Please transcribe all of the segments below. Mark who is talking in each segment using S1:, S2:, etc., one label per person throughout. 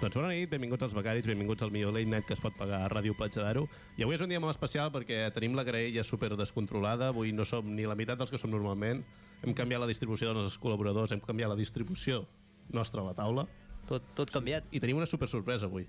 S1: Doncs bona nit, benvinguts als becaris, benvinguts al millor late night que es pot pagar a Ràdio Platja d'Aro. I avui és un dia molt especial perquè tenim la graella super descontrolada, avui no som ni la meitat dels que som normalment, hem canviat la distribució dels nostres col·laboradors, hem canviat la distribució nostra a la taula
S2: Tot, tot canviat.
S1: i tenim una super sorpresa avui.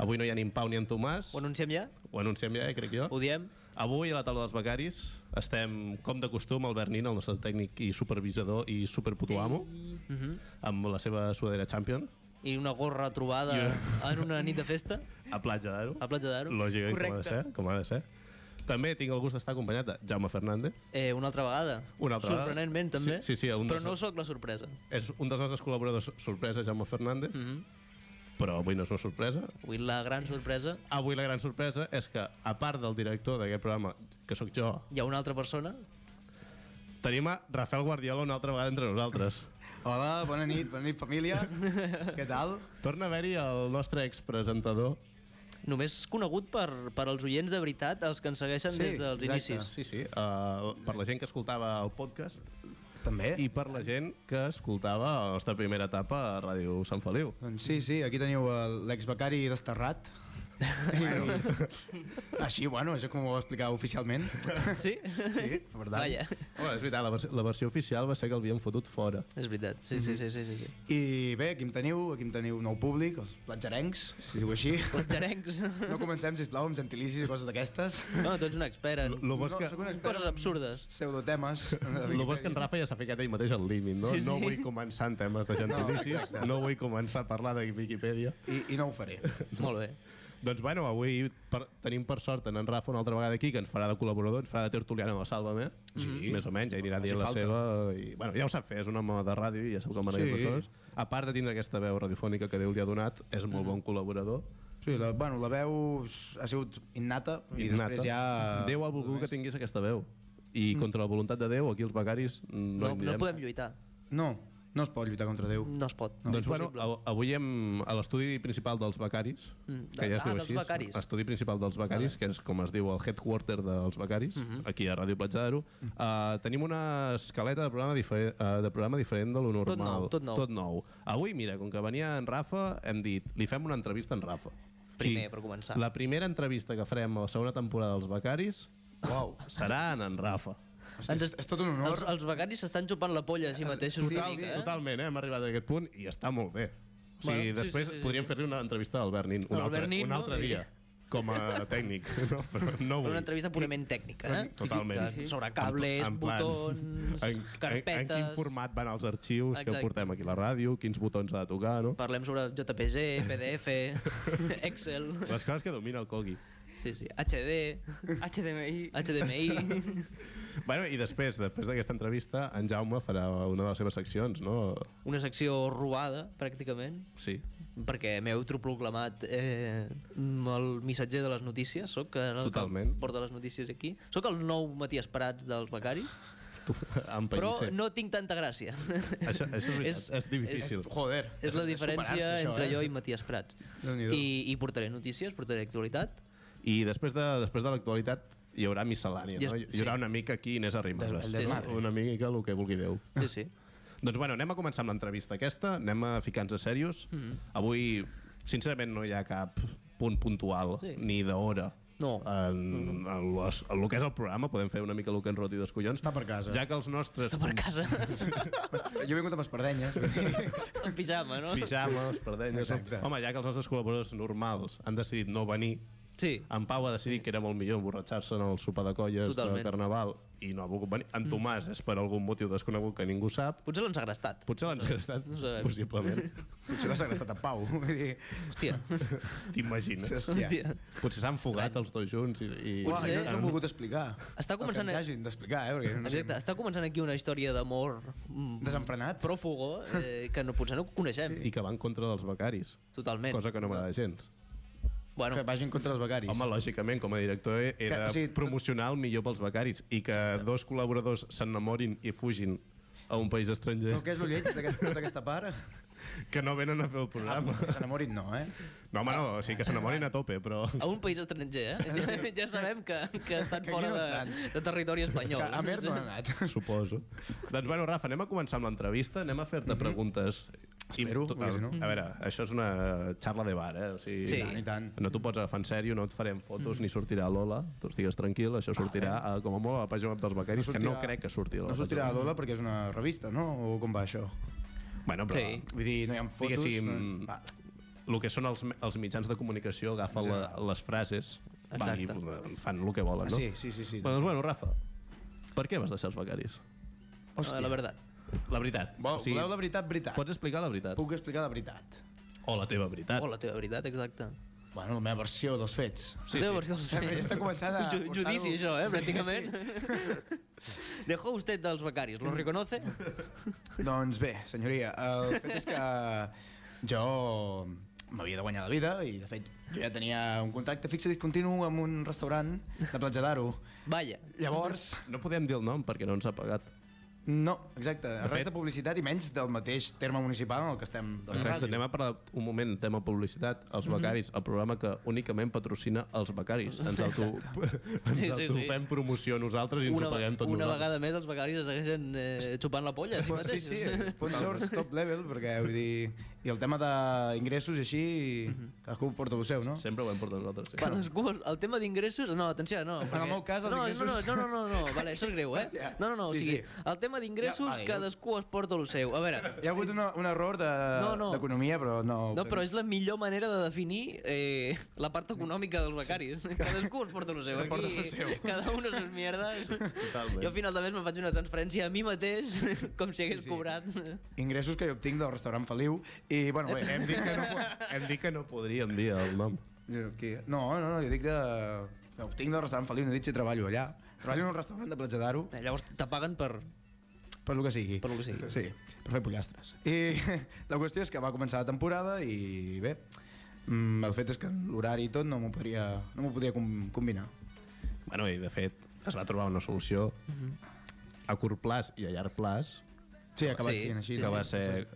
S1: Avui no hi ha ni en Pau ni en Tomàs,
S2: Ho anunciem ja?
S1: ho anunciem ja, eh, crec jo.
S2: Ho diem?
S1: Avui a la taula dels becaris estem, com de costum, Albert Nin, el nostre tècnic i supervisador i superputuamo,
S2: Mm -hmm.
S1: amb la seva sudadera Champion,
S2: I una gorra trobada
S1: Jo-
S2: en una nit de festa
S1: a Platja d'Aro.
S2: a Platja d'Aro.
S1: Lògicament, com ha de
S3: Correcte.
S1: ser, com ha de ser. També tinc el gust d'estar acompanyat de Jaume Fernández.
S2: Eh, una altra vegada.
S1: Una altra vegada.
S2: Sorprenentment, també.
S1: Sí, sí, sí, un
S2: Però
S1: dels-
S2: no sóc la sorpresa.
S1: És un dels nostres col·laboradors sorpresa, Jaume Fernández,
S2: Mm -hmm.
S1: però avui no és una sorpresa.
S2: Avui la gran sorpresa.
S1: Avui la gran sorpresa és que, a part del director d'aquest programa, que sóc jo,
S2: Hi ha una altra persona.
S1: tenim a Rafael Guardiola una altra vegada entre nosaltres.
S3: Hola, bona nit, bona nit família. Què tal?
S1: Torna a haver-hi el nostre expresentador.
S2: Només conegut per, per als oients de veritat, els que ens segueixen
S3: Sí,
S2: des dels
S3: exacte.
S2: inicis.
S1: Sí, sí, uh, per la gent que escoltava el podcast
S3: També?
S1: i per la gent que escoltava la nostra primera etapa a Ràdio Sant Feliu.
S3: Doncs sí, sí, aquí teniu el- l'exbecari desterrat. Bueno. Així, bueno, això com ho vau explicar oficialment.
S2: Sí?
S3: Sí, per tant.
S2: Vaja.
S1: Bueno, és veritat, la, vers la versió oficial va ser que el havien fotut fora.
S2: És veritat, sí, sí, sí, sí, sí. sí.
S3: I bé, aquí em teniu, aquí em teniu nou públic, els platjarencs, si es diu així.
S2: Platjarencs.
S3: No comencem, sisplau, amb gentilicis i coses d'aquestes.
S2: No, tu ets un expert en
S1: Lo bo és
S3: No,
S1: que...
S3: sóc un expert
S2: coses
S3: en
S2: absurdes.
S3: Pseudotemes.
S1: El bo és que en Rafa ja s'ha ficat ell mateix al límit, no?
S2: Sí, sí.
S1: No vull començar en temes de
S3: No,
S1: gentilicis, no,
S3: exacte.
S1: vull començar a parlar de Wikipedia.
S3: I, I no ho faré.
S2: Molt bé.
S1: Doncs bueno, avui per, tenim per sort en, en Rafa una altra vegada aquí, que ens farà de col·laborador, ens farà de tertuliano a Sálvame, sí. més o menys, ja hi anirà
S3: Faci
S1: dient la
S3: falta.
S1: seva... I, bueno, ja ho sap fer, és un home de ràdio i ja sap com anar
S3: Sí.
S1: sí. coses. A part de tindre aquesta veu radiofònica que Déu li ha donat, és molt bon col·laborador.
S3: Mm. Sí, la, bueno, la veu ha sigut innata, i
S1: Innata.
S3: després ja... Mm.
S1: Déu ha volgut que tinguis aquesta veu. I contra la voluntat de Déu, aquí els becaris no,
S2: No,
S1: hi
S2: no,
S1: anirem.
S2: podem lluitar.
S3: No, no es pot lluitar contra Déu.
S2: No es pot.
S1: doncs bueno,
S2: Impossible.
S1: av- avui hem a l'estudi principal dels becaris,
S2: Mm,
S1: que ja es
S2: ah,
S1: diu
S2: dels
S1: així,
S2: becaris.
S1: estudi principal dels becaris, que és com es diu el headquarter dels becaris,
S2: Mhm.
S1: aquí a Ràdio Platja d'Aro, uh, tenim una escaleta de programa, diferent, uh, de programa diferent de lo
S2: Tot nou,
S1: normal.
S2: tot nou.
S1: Tot nou. Avui, mira, com que venia en Rafa, hem dit, li fem una entrevista en Rafa.
S2: Primer, per començar.
S1: La primera entrevista que farem a la segona temporada dels becaris
S3: Uau.
S1: serà en en Rafa.
S3: Hosti, és, és tot un honor.
S2: Els, els becaris s'estan xupant la polla a si mateixos.
S1: Ah, Total,
S2: una
S1: sí,
S2: mica, eh?
S1: totalment, eh? hem arribat a aquest punt i està molt bé. O sigui,
S2: Bueno, sí,
S1: bueno, després
S2: sí,
S1: sí,
S2: sí, sí,
S1: podríem
S2: sí.
S1: fer-li una entrevista a Albert Nin un,
S2: Albert
S1: altre,
S2: Nin,
S1: un
S2: no?
S1: altre
S2: Sí.
S1: dia, com a tècnic. No, però no
S2: Però
S1: vull.
S2: una entrevista purament tècnica, eh?
S1: Totalment.
S2: Sí, sí. Sobre cables, botons,
S1: En, en
S2: carpetes...
S1: quin format van els arxius Exacte.
S2: Exacte.
S1: que portem aquí a la ràdio, quins botons ha de tocar, no?
S2: Parlem sobre JPG, PDF, Excel...
S1: Les coses que domina el Cogui.
S2: Sí, sí. HD,
S4: HDMI.
S2: HDMI...
S1: Bueno, I després, després d'aquesta entrevista, en Jaume farà una de les seves seccions, no?
S2: Una secció robada, pràcticament,
S1: Sí.
S2: perquè m'he autoproclamat eh, el missatger de les notícies, sóc el
S1: Totalment.
S2: que porta les notícies aquí. Sóc el nou Matías Prats dels becaris,
S1: Tu, en
S2: però
S1: Pellicer.
S2: no tinc tanta gràcia.
S1: Això, això és veritat, és, és difícil.
S3: És, joder.
S2: És la diferència
S3: superar-se, això,
S2: entre
S3: eh?
S2: jo i Matías Prats.
S3: Déu-n'hi-do.
S2: I, I portaré notícies, portaré actualitat.
S1: I després de, després de l'actualitat hi haurà miscel·lània,
S2: I es-
S1: no? Hi haurà
S2: sí.
S1: una mica aquí Inés Arrimadas.
S3: Del-
S2: del Sí, sí.
S1: Una- Una mica el que vulgui Déu.
S3: Ah.
S2: Sí, sí.
S1: Doncs bueno, anem a començar amb l'entrevista aquesta, anem a ficar-nos serios. Avui, sincerament, no hi ha cap punt puntual,
S2: Sí.
S1: ni d'hora.
S2: No.
S3: Ah.
S1: En, en, les, en el que és el programa, podem fer una mica el que ens roti dels collons.
S3: Està per casa.
S1: Ja que els nostres...
S2: Està per casa,
S3: Jo he vingut amb espardenyes.
S2: en pijama, no?
S1: Pijames, perdenyes...
S3: Exacte.
S1: Home, ja que els nostres col·laboradors normals han decidit no venir,
S2: Sí.
S1: En Pau ha decidit que era molt millor emborratxar-se en el sopar de colles
S2: Totalment. Mm.
S1: de Carnaval i no ha volgut venir. En Tomàs és per algun motiu desconegut que ningú sap.
S2: Potser l'han segrestat.
S1: Potser l'han segrestat,
S2: No sabem.
S1: possiblement.
S3: Potser l'ha segrestat a Pau. Vull dir,
S2: Hòstia.
S1: T'imagines?
S3: hòstia.
S2: Hòstia.
S1: Potser s'han fugat els dos junts i... i
S3: Uah,
S2: Potser-
S3: jo no us ho he volgut explicar.
S2: Està començant
S3: El que
S2: a-
S3: ens hagin d'explicar, eh? Perquè no sé,
S2: Exacte, està començant aquí una història d'amor mm,
S3: Desenfrenat.
S2: pròfugo eh, que no, potser no coneixem
S1: I que va en contra dels becaris.
S2: totalment.
S1: Cosa que no m'agrada gens.
S2: Bueno,
S3: Que vagin contra els becaris.
S1: Home, lògicament, com a director he he
S3: Que,
S1: de
S3: o sigui,
S1: promocionar el millor pels becaris i que dos col·laboradors s'enamorin i fugin a un país estranger
S3: no, què és el lleig d'aquesta d'aquesta part?
S1: que no venen a fer el
S3: Ah,
S1: programa.
S3: que s'enamorin no, eh?
S1: No, home, no, o sigui que s'enamorin a tope, però...
S2: a un país estranger, eh? Ja, ja sabem que, que estan
S3: Que aquí
S2: fora
S3: no
S2: de,
S3: estan.
S2: de territori
S3: Que
S2: espanyol.
S3: a Mer no han anat.
S1: Suposo. doncs bueno, Rafa, anem a començar amb l'entrevista, anem a fer-te preguntes
S3: Mhm. Espero,
S1: Imp-
S3: perquè si no...
S1: A veure, això és una xarra de bar, eh? O sigui,
S2: Sí.
S3: I tant, i tant. Mm.
S1: No t'ho pots agafar en sèrio, no et farem fotos, ni sortirà a l'Ola. Tu estigues tranquil, això sortirà a, com a molt a la pàgina web dels becaris, que no crec que surti a la
S3: No sortirà a
S1: pàgina web.
S3: Lola perquè és una revista, no? O com va això?
S1: Bueno, però
S2: Sí.
S3: Vull dir, no hi ha fotos...
S1: Diguéssim,
S3: No... Va,
S1: el que són els, els mitjans de comunicació agafen la, les frases va, i eh, fan el que volen, no?
S3: Ah, Sí, sí, sí. sí.
S1: Bueno, doncs, bueno, Rafa, per què vas deixar els becaris?
S2: Hòstia. La veritat.
S1: La veritat.
S3: Vol, voleu la veritat, veritat?
S1: Pots explicar la veritat?
S3: Puc explicar la veritat.
S1: O la teva
S3: Ah.
S1: veritat.
S2: O la teva veritat, exacte.
S3: Bueno, la meva versió dels fets.
S1: Sí,
S2: Sí, la teva
S1: sí.
S2: versió dels
S3: Ja
S2: fets.
S3: està començant a...
S2: Ju- Judici,
S3: portar-ho.
S2: això, eh, pràcticament. Mm. Dejó usted dels becarios, ¿lo reconoce?
S3: Doncs bé, senyoria, el fet és que jo m'havia de guanyar la vida i, de fet, jo ja tenia un contacte fixe discontinu amb un restaurant de Platja d'Aro.
S2: Vaya.
S3: Llavors,
S1: No podem dir el nom perquè no ens ha pagat.
S3: no, exacte,
S1: De
S3: de res
S1: fet-
S3: fet... de publicitat i menys del mateix terme municipal en el que estem de la
S1: Exacte,
S3: ràdio.
S1: anem a parlar un moment del tema publicitat, els
S2: Mhm.
S1: becaris, el programa que únicament patrocina els becaris. Ens auto, ens
S2: Sí, sí, sí.
S1: auto fem promoció nosaltres i ens
S2: Una,
S1: ho paguem tot
S2: una
S1: nosaltres.
S2: vegada més els becaris es segueixen eh, xupant la polla, sí
S3: Sí,
S2: mateix.
S3: sí, sponsors top level, perquè vull dir... I el tema d'ingressos i així,
S2: Mhm.
S3: cadascú porta el seu, no?
S1: Sempre ho hem portat nosaltres. Sí.
S2: Cadascú, el tema d'ingressos... No, atenció, no. Perquè...
S3: el meu cas, els
S2: no,
S3: ingressos-
S2: No, no, no, no, no, vale, això és greu, eh?
S3: Hòstia.
S2: No, no, no, o
S3: Sí,
S2: sigui,
S3: sí.
S2: el tema d'ingressos,
S3: Ja, vale,
S2: cadascú es porta el seu. A veure,
S3: Hi ha hagut una, un error
S2: No, no.
S3: d'economia, de, no, no. però no...
S2: no, però és la millor manera de definir eh, la part econòmica dels becaris. Cadascú es porta el seu.
S3: porta
S2: Aquí,
S3: el seu.
S2: cada un les seves mierdes.
S1: Totalment.
S2: Jo al final de mes me'n faig una transferència a mi mateix, com si hagués
S3: sí.
S2: cobrat.
S3: Ingressos que jo obtinc del restaurant Feliu i, bueno, bé,
S1: Hem dit, que no, po- hem dit que no podríem dir el nom.
S3: Jo, Qui? No, no, no, jo dic de... No, tinc del restaurant Feliu, no he dit si treballo allà. Treballo en un restaurant de Platja d'Aro,
S2: Eh, Llavors te paguen per...
S3: per lo que sigui.
S2: Per lo que sigui.
S3: Sí, per fer pollastres. I la qüestió és que va començar la temporada i bé, mm, el fet és que l'horari i tot no m'ho podria, no m'ho podia com, combinar.
S1: Bueno, i de fet, es va trobar una solució a curt plaç i a llarg plaç,
S3: Sí, ha acabat
S2: Mhm. Sí,
S3: sí, sent així.
S1: que
S2: sí,
S1: va ser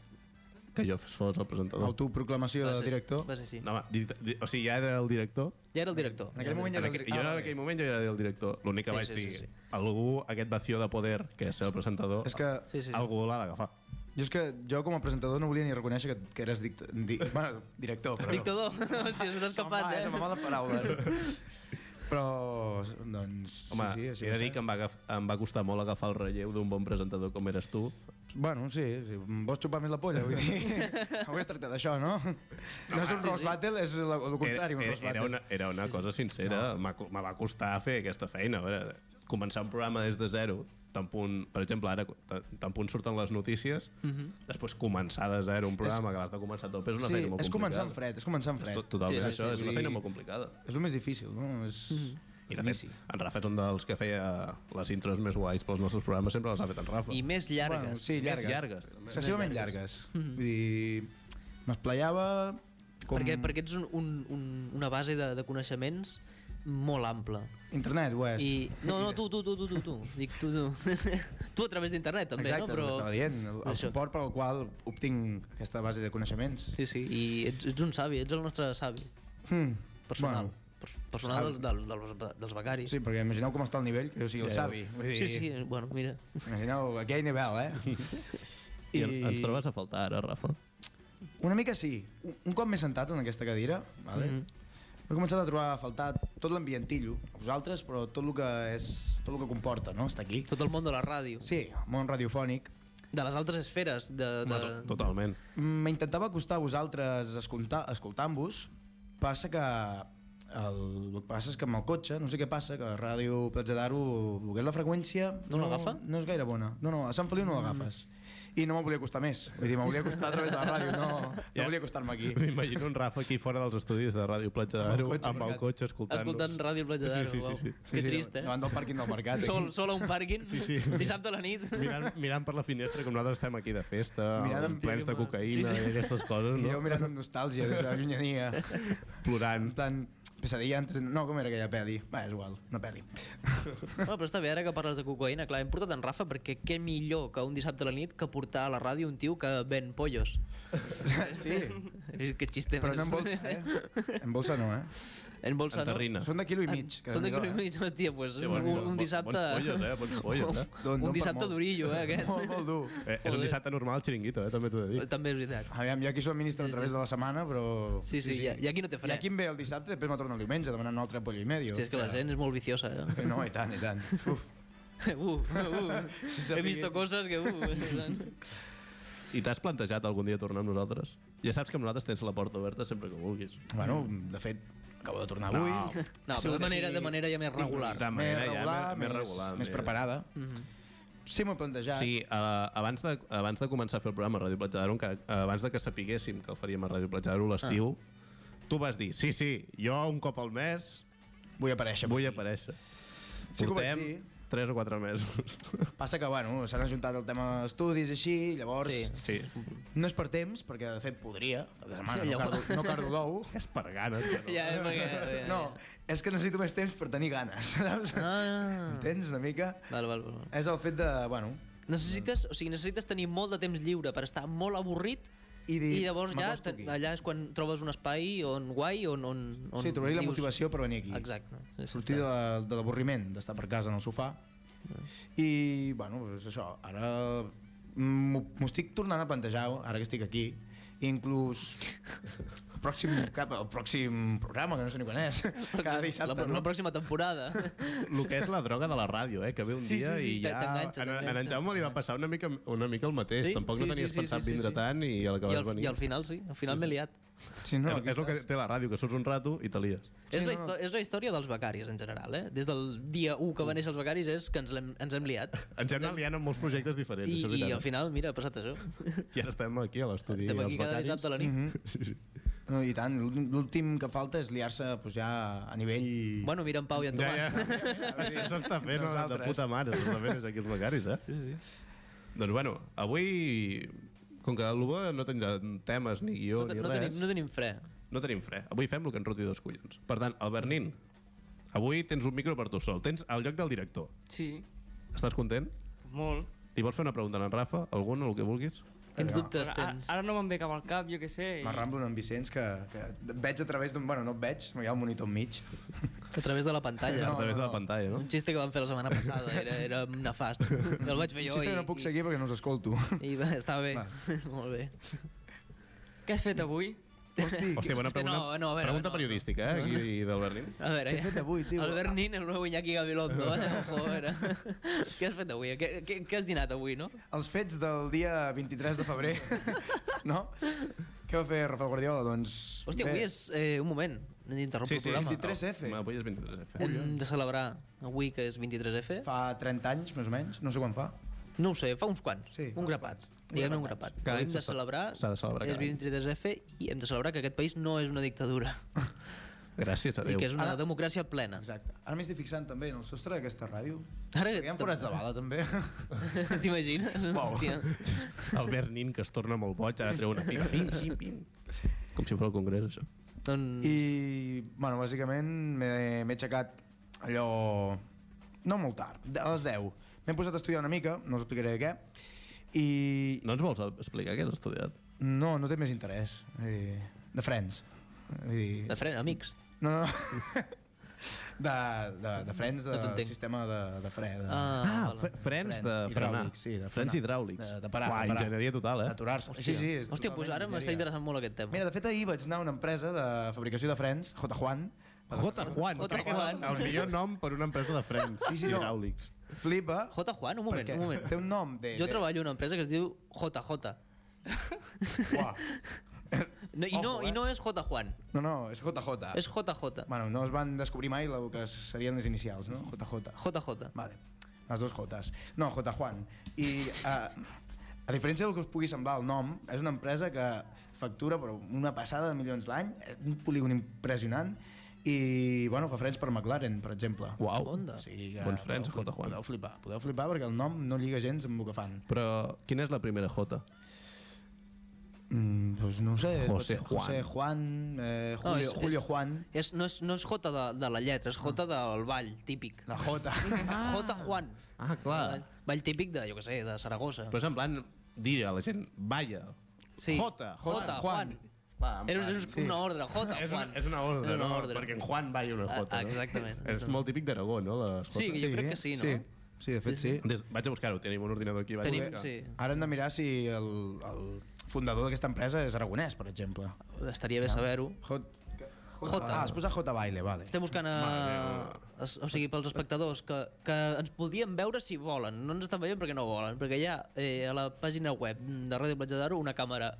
S1: que jo fos el presentador.
S3: Autoproclamació
S2: Va
S3: de
S2: ser-
S3: director.
S2: Va ser així.
S1: No, va, di- di- o sigui, ja era el director,
S2: Ja era el director.
S3: En aquell moment ja
S1: En
S3: era
S1: aqu-
S3: el
S1: jo
S3: Ah,
S1: era en
S3: vale.
S1: aquell moment jo era el director. L'únic que
S2: Sí,
S1: vaig
S2: sí, sí,
S1: dir,
S2: sí.
S1: algú, aquest vacío de poder, que és el presentador,
S3: És que
S2: Sí, sí, sí.
S1: algú l'ha d'agafar.
S3: jo, és que jo com a presentador no volia ni reconèixer que, que eres dict di bueno, director. Però...
S2: Dictador. Hòstia, se t'ha escapat,
S3: Se'm va,
S2: eh?
S3: se'm va de paraules. Però, doncs...
S1: Home,
S3: sí, sí,
S1: he
S3: va
S1: de dir
S3: ser.
S1: que em va, agaf- em va costar molt agafar el relleu d'un bon presentador com eres tu.
S3: Bueno, sí, sí, em vols xupar més la polla, vull dir... Avui es tracta d'això, no? No és un roast battle, és el, el contrari, un
S1: era,
S3: roast
S1: era, era,
S3: battle.
S1: una, era una cosa sincera, no. me va costar fer aquesta feina. A veure, començar un programa des de zero, tan punt, per exemple, ara ta- tan punt surten les notícies, mm -hmm. després començar de zero un programa que l'has de començar tot, és una
S3: Mhm. Sí,
S1: feina molt
S3: és
S1: complicada.
S3: començar en fred, és començar en
S1: És
S3: fred.
S1: tot- Totalment,
S2: Sí,
S1: sí,
S2: sí,
S1: això
S2: sí,
S1: és una
S3: sí.
S1: feina molt complicada.
S3: És el més difícil, no? És...
S1: I de fet, en Rafa és un dels que feia les intros més guais pels nostres programes, sempre les ha fet en Rafa.
S2: I més llargues. Mhm.
S3: Bueno, sí,
S1: llargues.
S3: llargues.
S1: llargues. també.
S3: Excessivament llargues. Vull dir... M'esplayava... Com...
S2: perquè, perquè ets un, un, un, una base de, de coneixements molt ampla.
S3: Internet ho és.
S2: I... No, no, tu, tu, tu, tu, tu, tu. Dic tu, tu. tu a través d'internet, també,
S3: Exacte,
S2: no? Però...
S3: el que estava dient, el, el
S2: Això.
S3: suport pel qual obtinc aquesta base de coneixements.
S2: Sí, sí, i ets, ets un savi, ets el nostre savi
S3: Hmm.
S2: personal.
S3: Bueno,
S2: Bueno, personal del, del, del, dels becaris.
S3: Sí, perquè imagineu com està el nivell, que jo sigui el
S1: Ja,
S3: savi. Vull dir,
S2: sí, sí, bueno, mira.
S3: Imagineu aquell nivell, eh?
S1: I... en- Ens trobes a faltar ara, Rafa?
S3: Una mica sí. Un, un cop m'he sentat en aquesta cadira, vale? Mm
S2: Mm-hmm.
S3: -hmm. he començat a trobar a faltar tot l'ambientillo, a vosaltres, però tot el que, és, tot el que comporta, no?, estar aquí.
S2: Tot el món de la ràdio.
S3: Sí, món radiofònic.
S2: De les altres esferes. De, de...
S1: Home, to- Totalment.
S3: M'intentava acostar a vosaltres escolta- escoltant-vos, passa que el, el que passa és que amb el cotxe, no sé què passa, que a Ràdio Platja d'Aro, el que és la freqüència...
S2: No l'agafa? Mm.
S3: No, és gaire bona. No, no, a Sant Feliu no l'agafes. I no me'l volia acostar més. Vull dir, me'l volia acostar a través de la ràdio, no,
S1: Ja.
S3: no volia acostar-me aquí.
S1: M'imagino un Rafa aquí fora dels estudis de Ràdio Platja
S3: Amb el
S1: d'Aro,
S3: cotxe
S1: amb el
S3: aparcat.
S1: cotxe, escoltant-nos.
S2: Escoltant Ràdio Platja d'Aro.
S1: doncs. Sí, sí,
S2: uau.
S1: sí. sí.
S2: Que trist, eh?
S3: Davant del pàrquing del mercat. aquí.
S2: Sol, sol a un pàrquing, sí, sí. dissabte a la nit.
S1: Mirant, mirant per la finestra, com nosaltres estem aquí de festa,
S3: Mirant
S1: mirant
S3: amb-
S1: plens de cocaïna
S2: Sí,
S1: sí,
S2: sí.
S1: sí. i aquestes coses,
S3: I jo
S1: no?
S3: mirant amb nostàlgia des de la llunyania.
S1: Plorant.
S3: En plan, pesadilla antes... No, com era aquella pel·li? Va, és igual, una pel·li.
S2: Bueno, però està bé, ara que parles de cocaïna, clar, hem portat en Rafa perquè què millor que un dissabte a la nit que portar a la ràdio un tio que ven pollos.
S3: Sí,
S2: És que xiste
S3: però no
S2: més.
S3: en bolsa, eh? En bolsa no, eh?
S2: En Bolsano...
S1: Enterrina.
S3: Són de quilo i
S2: Ah,
S3: mig. que
S2: Són de
S3: Déu-n'hi-do,
S2: quilo i
S3: eh?
S2: mig, hòstia, pues,
S1: Sí,
S2: sí,
S1: bon-
S2: bon, un,
S1: bon-
S2: un dissabte...
S1: bons pollos, eh? Bons pollos, eh?
S3: Don- don
S2: un
S3: per
S2: dissabte
S3: molt.
S2: durillo, eh, aquest.
S3: Molt, molt dur.
S1: Eh, és un
S2: Joder.
S1: dissabte normal, xiringuito, eh? també t'ho he de dir.
S2: També és veritat.
S3: Aviam, jo aquí s'ho administro a través de la setmana, però...
S2: Sí, sí, i- i aquí no té fre.
S3: I aquí em ve el dissabte, després me'l torna el diumenge, demanant un altre pollo i medio.
S2: Hòstia, és que la gent és molt viciosa, eh?
S3: No, i tant, i tant. Uf.
S2: Uh, uh,
S3: Si
S2: he vist
S3: sapiguessis.
S2: coses que... Uh,
S1: I t'has plantejat algun dia tornar amb nosaltres? Ja saps que amb nosaltres tens la porta oberta sempre que vulguis.
S3: Bueno, de fet, acabo de tornar avui.
S1: No.
S2: No, però
S3: Ha sigut
S2: de manera,
S3: així
S2: de manera ja més regular.
S1: De manera ja més- més
S3: més,
S1: regular,
S3: Més
S1: més-
S3: preparada.
S2: Mhm.
S3: Sí, m'ho he
S1: O
S3: plantejat.
S1: sigui, a, abans, de, abans de començar a fer el programa a Ràdio Platja d'Aro, encara- abans de que sapiguéssim que el faríem a Ràdio Platja d'Aro l'estiu, tu vas dir, sí, sí, jo un cop al mes
S3: Vull aparèixer.
S1: vull aparèixer.
S3: Sí que ho vaig dir.
S1: 3 o 4 mesos.
S3: Passa que, bueno, s'han ajuntat el tema estudis i així, llavors...
S2: Sí.
S1: sí.
S3: No és per temps, perquè de fet podria, cap de setmana,
S2: Sí,
S3: no,
S2: llavors-
S3: cardo, no cardo l'ou.
S1: És per ganes. Que no.
S2: Ja, és perquè...
S3: No, és que necessito més temps per tenir ganes, saps?
S2: Ah,
S3: Entens una mica?
S2: val, val, val.
S3: És el fet de, bueno,
S2: Necessites, o sigui, necessites tenir molt de temps lliure per estar molt avorrit
S3: I
S2: i,
S3: dir,
S2: llavors ja
S3: m'acosto
S2: te-
S3: aquí.
S2: allà és quan trobes un espai on guai on, on, on
S3: sí, trobaré la motivació per venir aquí.
S2: Exacte. Sí, sí,
S3: Sortir de,
S2: està.
S3: la- de l'avorriment, d'estar per casa en el sofà. I, bueno, és això, ara m'ho m'ho estic tornant a plantejar, ara que estic aquí, inclús el pròxim, cap, el pròxim programa, que no sé ni quan és, cada dissabte,
S2: la, pro-
S3: no?
S2: la pròxima temporada.
S1: El que és la droga de la ràdio, eh? que ve un
S2: Sí,
S1: dia
S2: sí, sí,
S1: i ja...
S2: t'enganxa,
S1: en, en en
S2: t'enganxa.
S1: Jaume li va passar una mica, una mica el mateix.
S2: Sí?
S1: Tampoc
S2: Sí,
S1: no
S2: sí,
S1: tenies
S2: sí,
S1: pensat
S2: sí, sí,
S1: vindre
S2: sí.
S1: tant i
S2: I,
S1: l'acabes
S2: al,
S1: venint.
S2: I al final sí, al final m'he liat.
S3: Sí, no,
S1: és,
S3: aquí
S1: és el que
S3: estàs.
S1: té la ràdio, que surts un rato i te lies.
S2: Sí, és, la
S3: no, no.
S2: histò- és la història dels becaris en general, eh? Des del dia 1 que van néixer els becaris és que ens, l'hem- ens hem liat.
S1: Ens hem anat liant amb molts projectes diferents,
S2: I,
S1: això és
S2: i
S1: veritat.
S2: al final, mira, ha passat això.
S1: I ara estem aquí a l'estudi.
S2: Estem
S1: els
S2: aquí cada
S1: becaris.
S2: dissabte a la nit.
S1: Sí, sí.
S3: No, i tant, l'últim- l'últim que falta és liar-se pues, ja a nivell...
S2: Bueno, mira en Pau i en
S1: Ja,
S2: Tomàs.
S1: ja. Això s'està fent de, de puta mare, s'està fent des aquí els becaris, eh? Sí, sí. Doncs bueno, avui, com que l'Ubo no tenim temes, ni guió,
S2: No, te-
S1: ni
S2: no,
S1: res,
S2: tenim, no tenim fre.
S1: no tenim fre. Avui fem el que ens roti dos collons. Per tant, Albert Nin, avui tens un micro per tu sol, tens el lloc del director.
S4: Sí,
S1: Estàs content?
S4: molt.
S1: Li vols fer una pregunta a en Rafa? Alguna, el que vulguis?
S2: Quins
S3: Però,
S2: dubtes
S4: Ara,
S2: tens?
S4: ara no me'n ve cap al cap, jo què sé. i-
S3: M'arramblo amb en Vicenç, que, que et veig a través d'un... Bueno, no et veig, hi ha un monitor enmig.
S2: A través de la pantalla.
S1: a través de la pantalla, no?
S2: Un xiste que vam fer la setmana passada, era, era nefast. El vaig fer
S3: Jo,
S2: jo
S3: Xista,
S2: i,
S3: no puc seguir perquè no us escolto.
S2: i, i va, estava bé, molt bé.
S4: Què has fet avui?
S3: Hosti,
S1: Hòstia, bona
S2: Hosti, no,
S1: pregunta,
S2: no, a veure,
S1: pregunta
S2: no, no.
S1: periodística, eh, aquí d'Albert Nin.
S2: A veure,
S3: Què he fet avui, tio?
S2: Albert Nin, el nou Iñaki Gabilondo, eh? Joder. què has fet avui? Què, què, què has dinat avui, no?
S3: Els fets del dia 23 de febrer, no? Què va fer Rafael Guardiola? Doncs...
S2: Hòstia,
S3: bé,
S2: avui és... Eh, un moment, interrompo el programa.
S3: 23F.
S1: Home, avui és 23F.
S2: Hem de celebrar avui, que és 23F.
S3: Fa 30 anys, més o menys, no sé quan fa.
S2: No ho sé, fa uns quants.
S3: Sí,
S2: un
S3: fa
S2: grapat. Diguem un grapat.
S1: Cada
S2: Ho
S1: any
S2: hem de
S1: s'ha-
S2: celebrar,
S1: s'ha de celebrar
S2: és
S1: cada any.
S2: 23F i hem de celebrar que aquest país no és una dictadura
S1: Gràcies a
S2: i
S1: Déu.
S2: que és una
S3: Ara-
S2: democràcia plena.
S3: Exacte. Ara m'estic fixant també en el sostre d'aquesta ràdio.
S2: Ara
S3: Hi ha forats de bala, també.
S2: T'imagines?
S3: Uau.
S2: Hòstia.
S1: Albert Nin, que es torna molt boig, ara treu una pica. Pim, pim, pim. Com si fos el Congrés, això.
S2: Doncs...
S3: I, bueno, bàsicament m'he m'he aixecat allò... No molt tard, de- a les 10. M'he posat a estudiar una mica, no us explicaré de què, i
S1: No ens vols explicar què has estudiat?
S3: no, no té més interès. Vull dir, de Friends. Vull dir,
S2: De fren, amics.
S3: No, no, no. De, de, de frens
S2: No
S3: de
S2: t'entenc.
S3: sistema de, de fre. De...
S2: Ah, vale.
S1: frens de
S3: Frens
S1: frenar.
S3: hidràulics, sí, de
S1: frens
S3: frenar.
S1: hidràulics.
S3: De- de parar,
S1: Uah,
S3: de parar.
S1: enginyeria total, eh?
S3: Aturar-se. Sí, sí. és
S2: Hòstia, doncs
S3: totalment
S2: ara m'està
S3: enginyeria.
S2: interessant molt aquest tema.
S3: Mira, de fet, ahir vaig anar a una empresa de fabricació de frens, J. Juan.
S1: J. Juan,
S2: J.
S1: crec que és el-
S2: Juan.
S1: el millor nom per una empresa de frens
S3: Sí, sí, no.
S1: hidràulics.
S3: Flipa.
S2: J. Juan, un moment,
S3: perquè
S2: un moment.
S3: Té un eh, nom de...
S2: Jo
S3: de-
S2: treballo en una empresa que es diu JJ.
S3: Uah.
S2: No, i, no,
S3: Ojo, eh? Ah.
S2: I no és J. Juan,
S3: No, no, és JJ.
S2: és JJ.
S3: Bueno, no es van descobrir mai el que serien les inicials, no? JJ.
S2: JJ.
S3: Vale, les dues Jotes. No, J. Juan. I eh, a diferència del que us pugui semblar el nom, és una empresa que factura però una passada de milions l'any, eh, un polígon impressionant, i bueno, fa frens per McLaren, per exemple.
S1: Uau.
S2: Onda.
S3: sigui
S1: Bons frens, J.
S3: podeu flip-
S1: Juan.
S3: Podeu flipar, podeu flipar perquè el nom no lliga gens amb el que fan.
S1: Però quina és la primera J?
S3: Mm, doncs no ho sé. pot
S1: José
S3: ser José Juan, eh,
S2: No,
S3: Julio,
S2: és- és-
S3: Julio Juan,
S2: És, no, és, no és J de, de la lletra, és
S3: Ah.
S2: J del ball, típic.
S3: la J.
S2: J. Juan.
S1: Ah, clar.
S2: Ball típic de, jo què sé, de Saragossa.
S1: Però és en plan dir a la gent, vaya,
S2: Sí.
S1: J,
S2: J,
S3: Juan.
S2: Juan.
S3: Va, en
S2: Era
S3: plan,
S2: és
S3: ah, sí.
S2: una ordre, J,
S1: És una,
S2: Juan.
S1: és una ordre,
S2: És una
S1: no?
S2: ordre.
S1: Perquè en Juan va i una
S2: Ah,
S1: jota. no?
S2: exactament.
S1: És molt típic d'Aragó, no? Les
S2: Sí,
S1: jotes.
S2: jo crec que sí, no?
S3: Sí, sí de fet sí.
S1: Des, vaig a buscar-ho, tenim un ordinador aquí. Vaig
S2: Tenim,
S1: a
S2: sí.
S3: Ara hem de mirar si el, el fundador d'aquesta empresa és aragonès, per exemple.
S2: Estaria
S3: Ah.
S2: bé saber-ho.
S3: J...
S2: J.
S3: Ah, es posa J Baile, vale.
S2: Estem buscant a... es- O sigui, pels espectadors, que, que ens podien veure si volen. No ens estan veient perquè no volen, perquè hi ha eh, a la pàgina web de Ràdio Platja d'Aro una càmera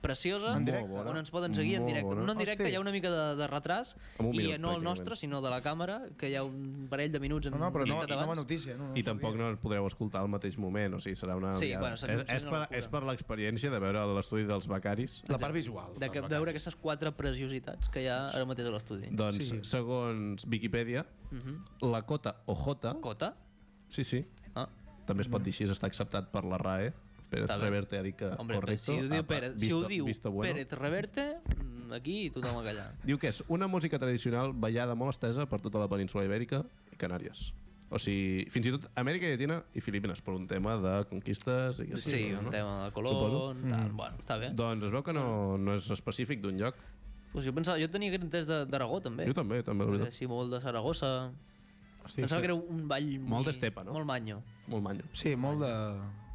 S2: preciosa
S3: En directe.
S2: on ens poden seguir en
S1: Molt
S2: directe.
S1: bona.
S2: No en directe,
S3: Hosti.
S2: hi ha una mica de, de retras
S1: Amb un
S2: i
S1: minut,
S2: no el
S1: pràcticament.
S2: nostre, sinó de la càmera, que hi ha un parell de minuts en
S3: No, no, però no,
S2: dictat
S3: no
S2: abans.
S3: va notícia. No, no
S1: I
S3: ho
S1: tampoc
S3: sabia.
S1: no el podreu escoltar al mateix moment, o sigui, serà una...
S2: Sí,
S1: aliada.
S2: bueno, serà-
S1: és,
S2: serà
S1: és,
S2: una
S1: per,
S2: locura.
S1: és per l'experiència de veure l'estudi dels becaris.
S3: La part visual.
S2: de que,
S3: dels
S2: veure
S3: becaris.
S2: aquestes quatre preciositats que hi ha ara mateix a l'estudi.
S1: Doncs,
S3: Sí.
S1: segons Viquipèdia,
S2: Mhm.
S1: la cota o jota...
S2: Cota?
S1: Sí, sí.
S2: Ah.
S1: També es pot dir així, està acceptat per la RAE. Pérez
S2: Està bé.
S1: Reverte ha dit que
S2: Hombre,
S1: correcto.
S2: si ho diu
S1: Apa,
S2: Pérez, si
S1: visto-
S2: ho diu
S1: visto bueno.
S2: Pérez Reverte, mm, aquí tothom a callar.
S1: Diu que és una música tradicional ballada molt estesa per tota la península ibèrica i Canàries. O sigui, fins i tot Amèrica Llatina i Filipines, per un tema de conquistes... I aquestes
S2: Sí,
S1: coses,
S2: un
S1: no?
S2: tema de Colón,
S1: Suposo.
S2: tal, bueno, està bé.
S1: Doncs es veu que no, no és específic d'un lloc.
S2: Pues jo pensava, jo tenia entès de- d'Aragó, també.
S1: Jo també, també, la veritat.
S2: Així molt de Saragossa.
S3: Hosti,
S2: Pensava
S3: sí.
S2: que era un ball...
S1: Molt d'estepa, no?
S2: Molt manyo.
S1: Molt manyo.
S3: Sí, molt de,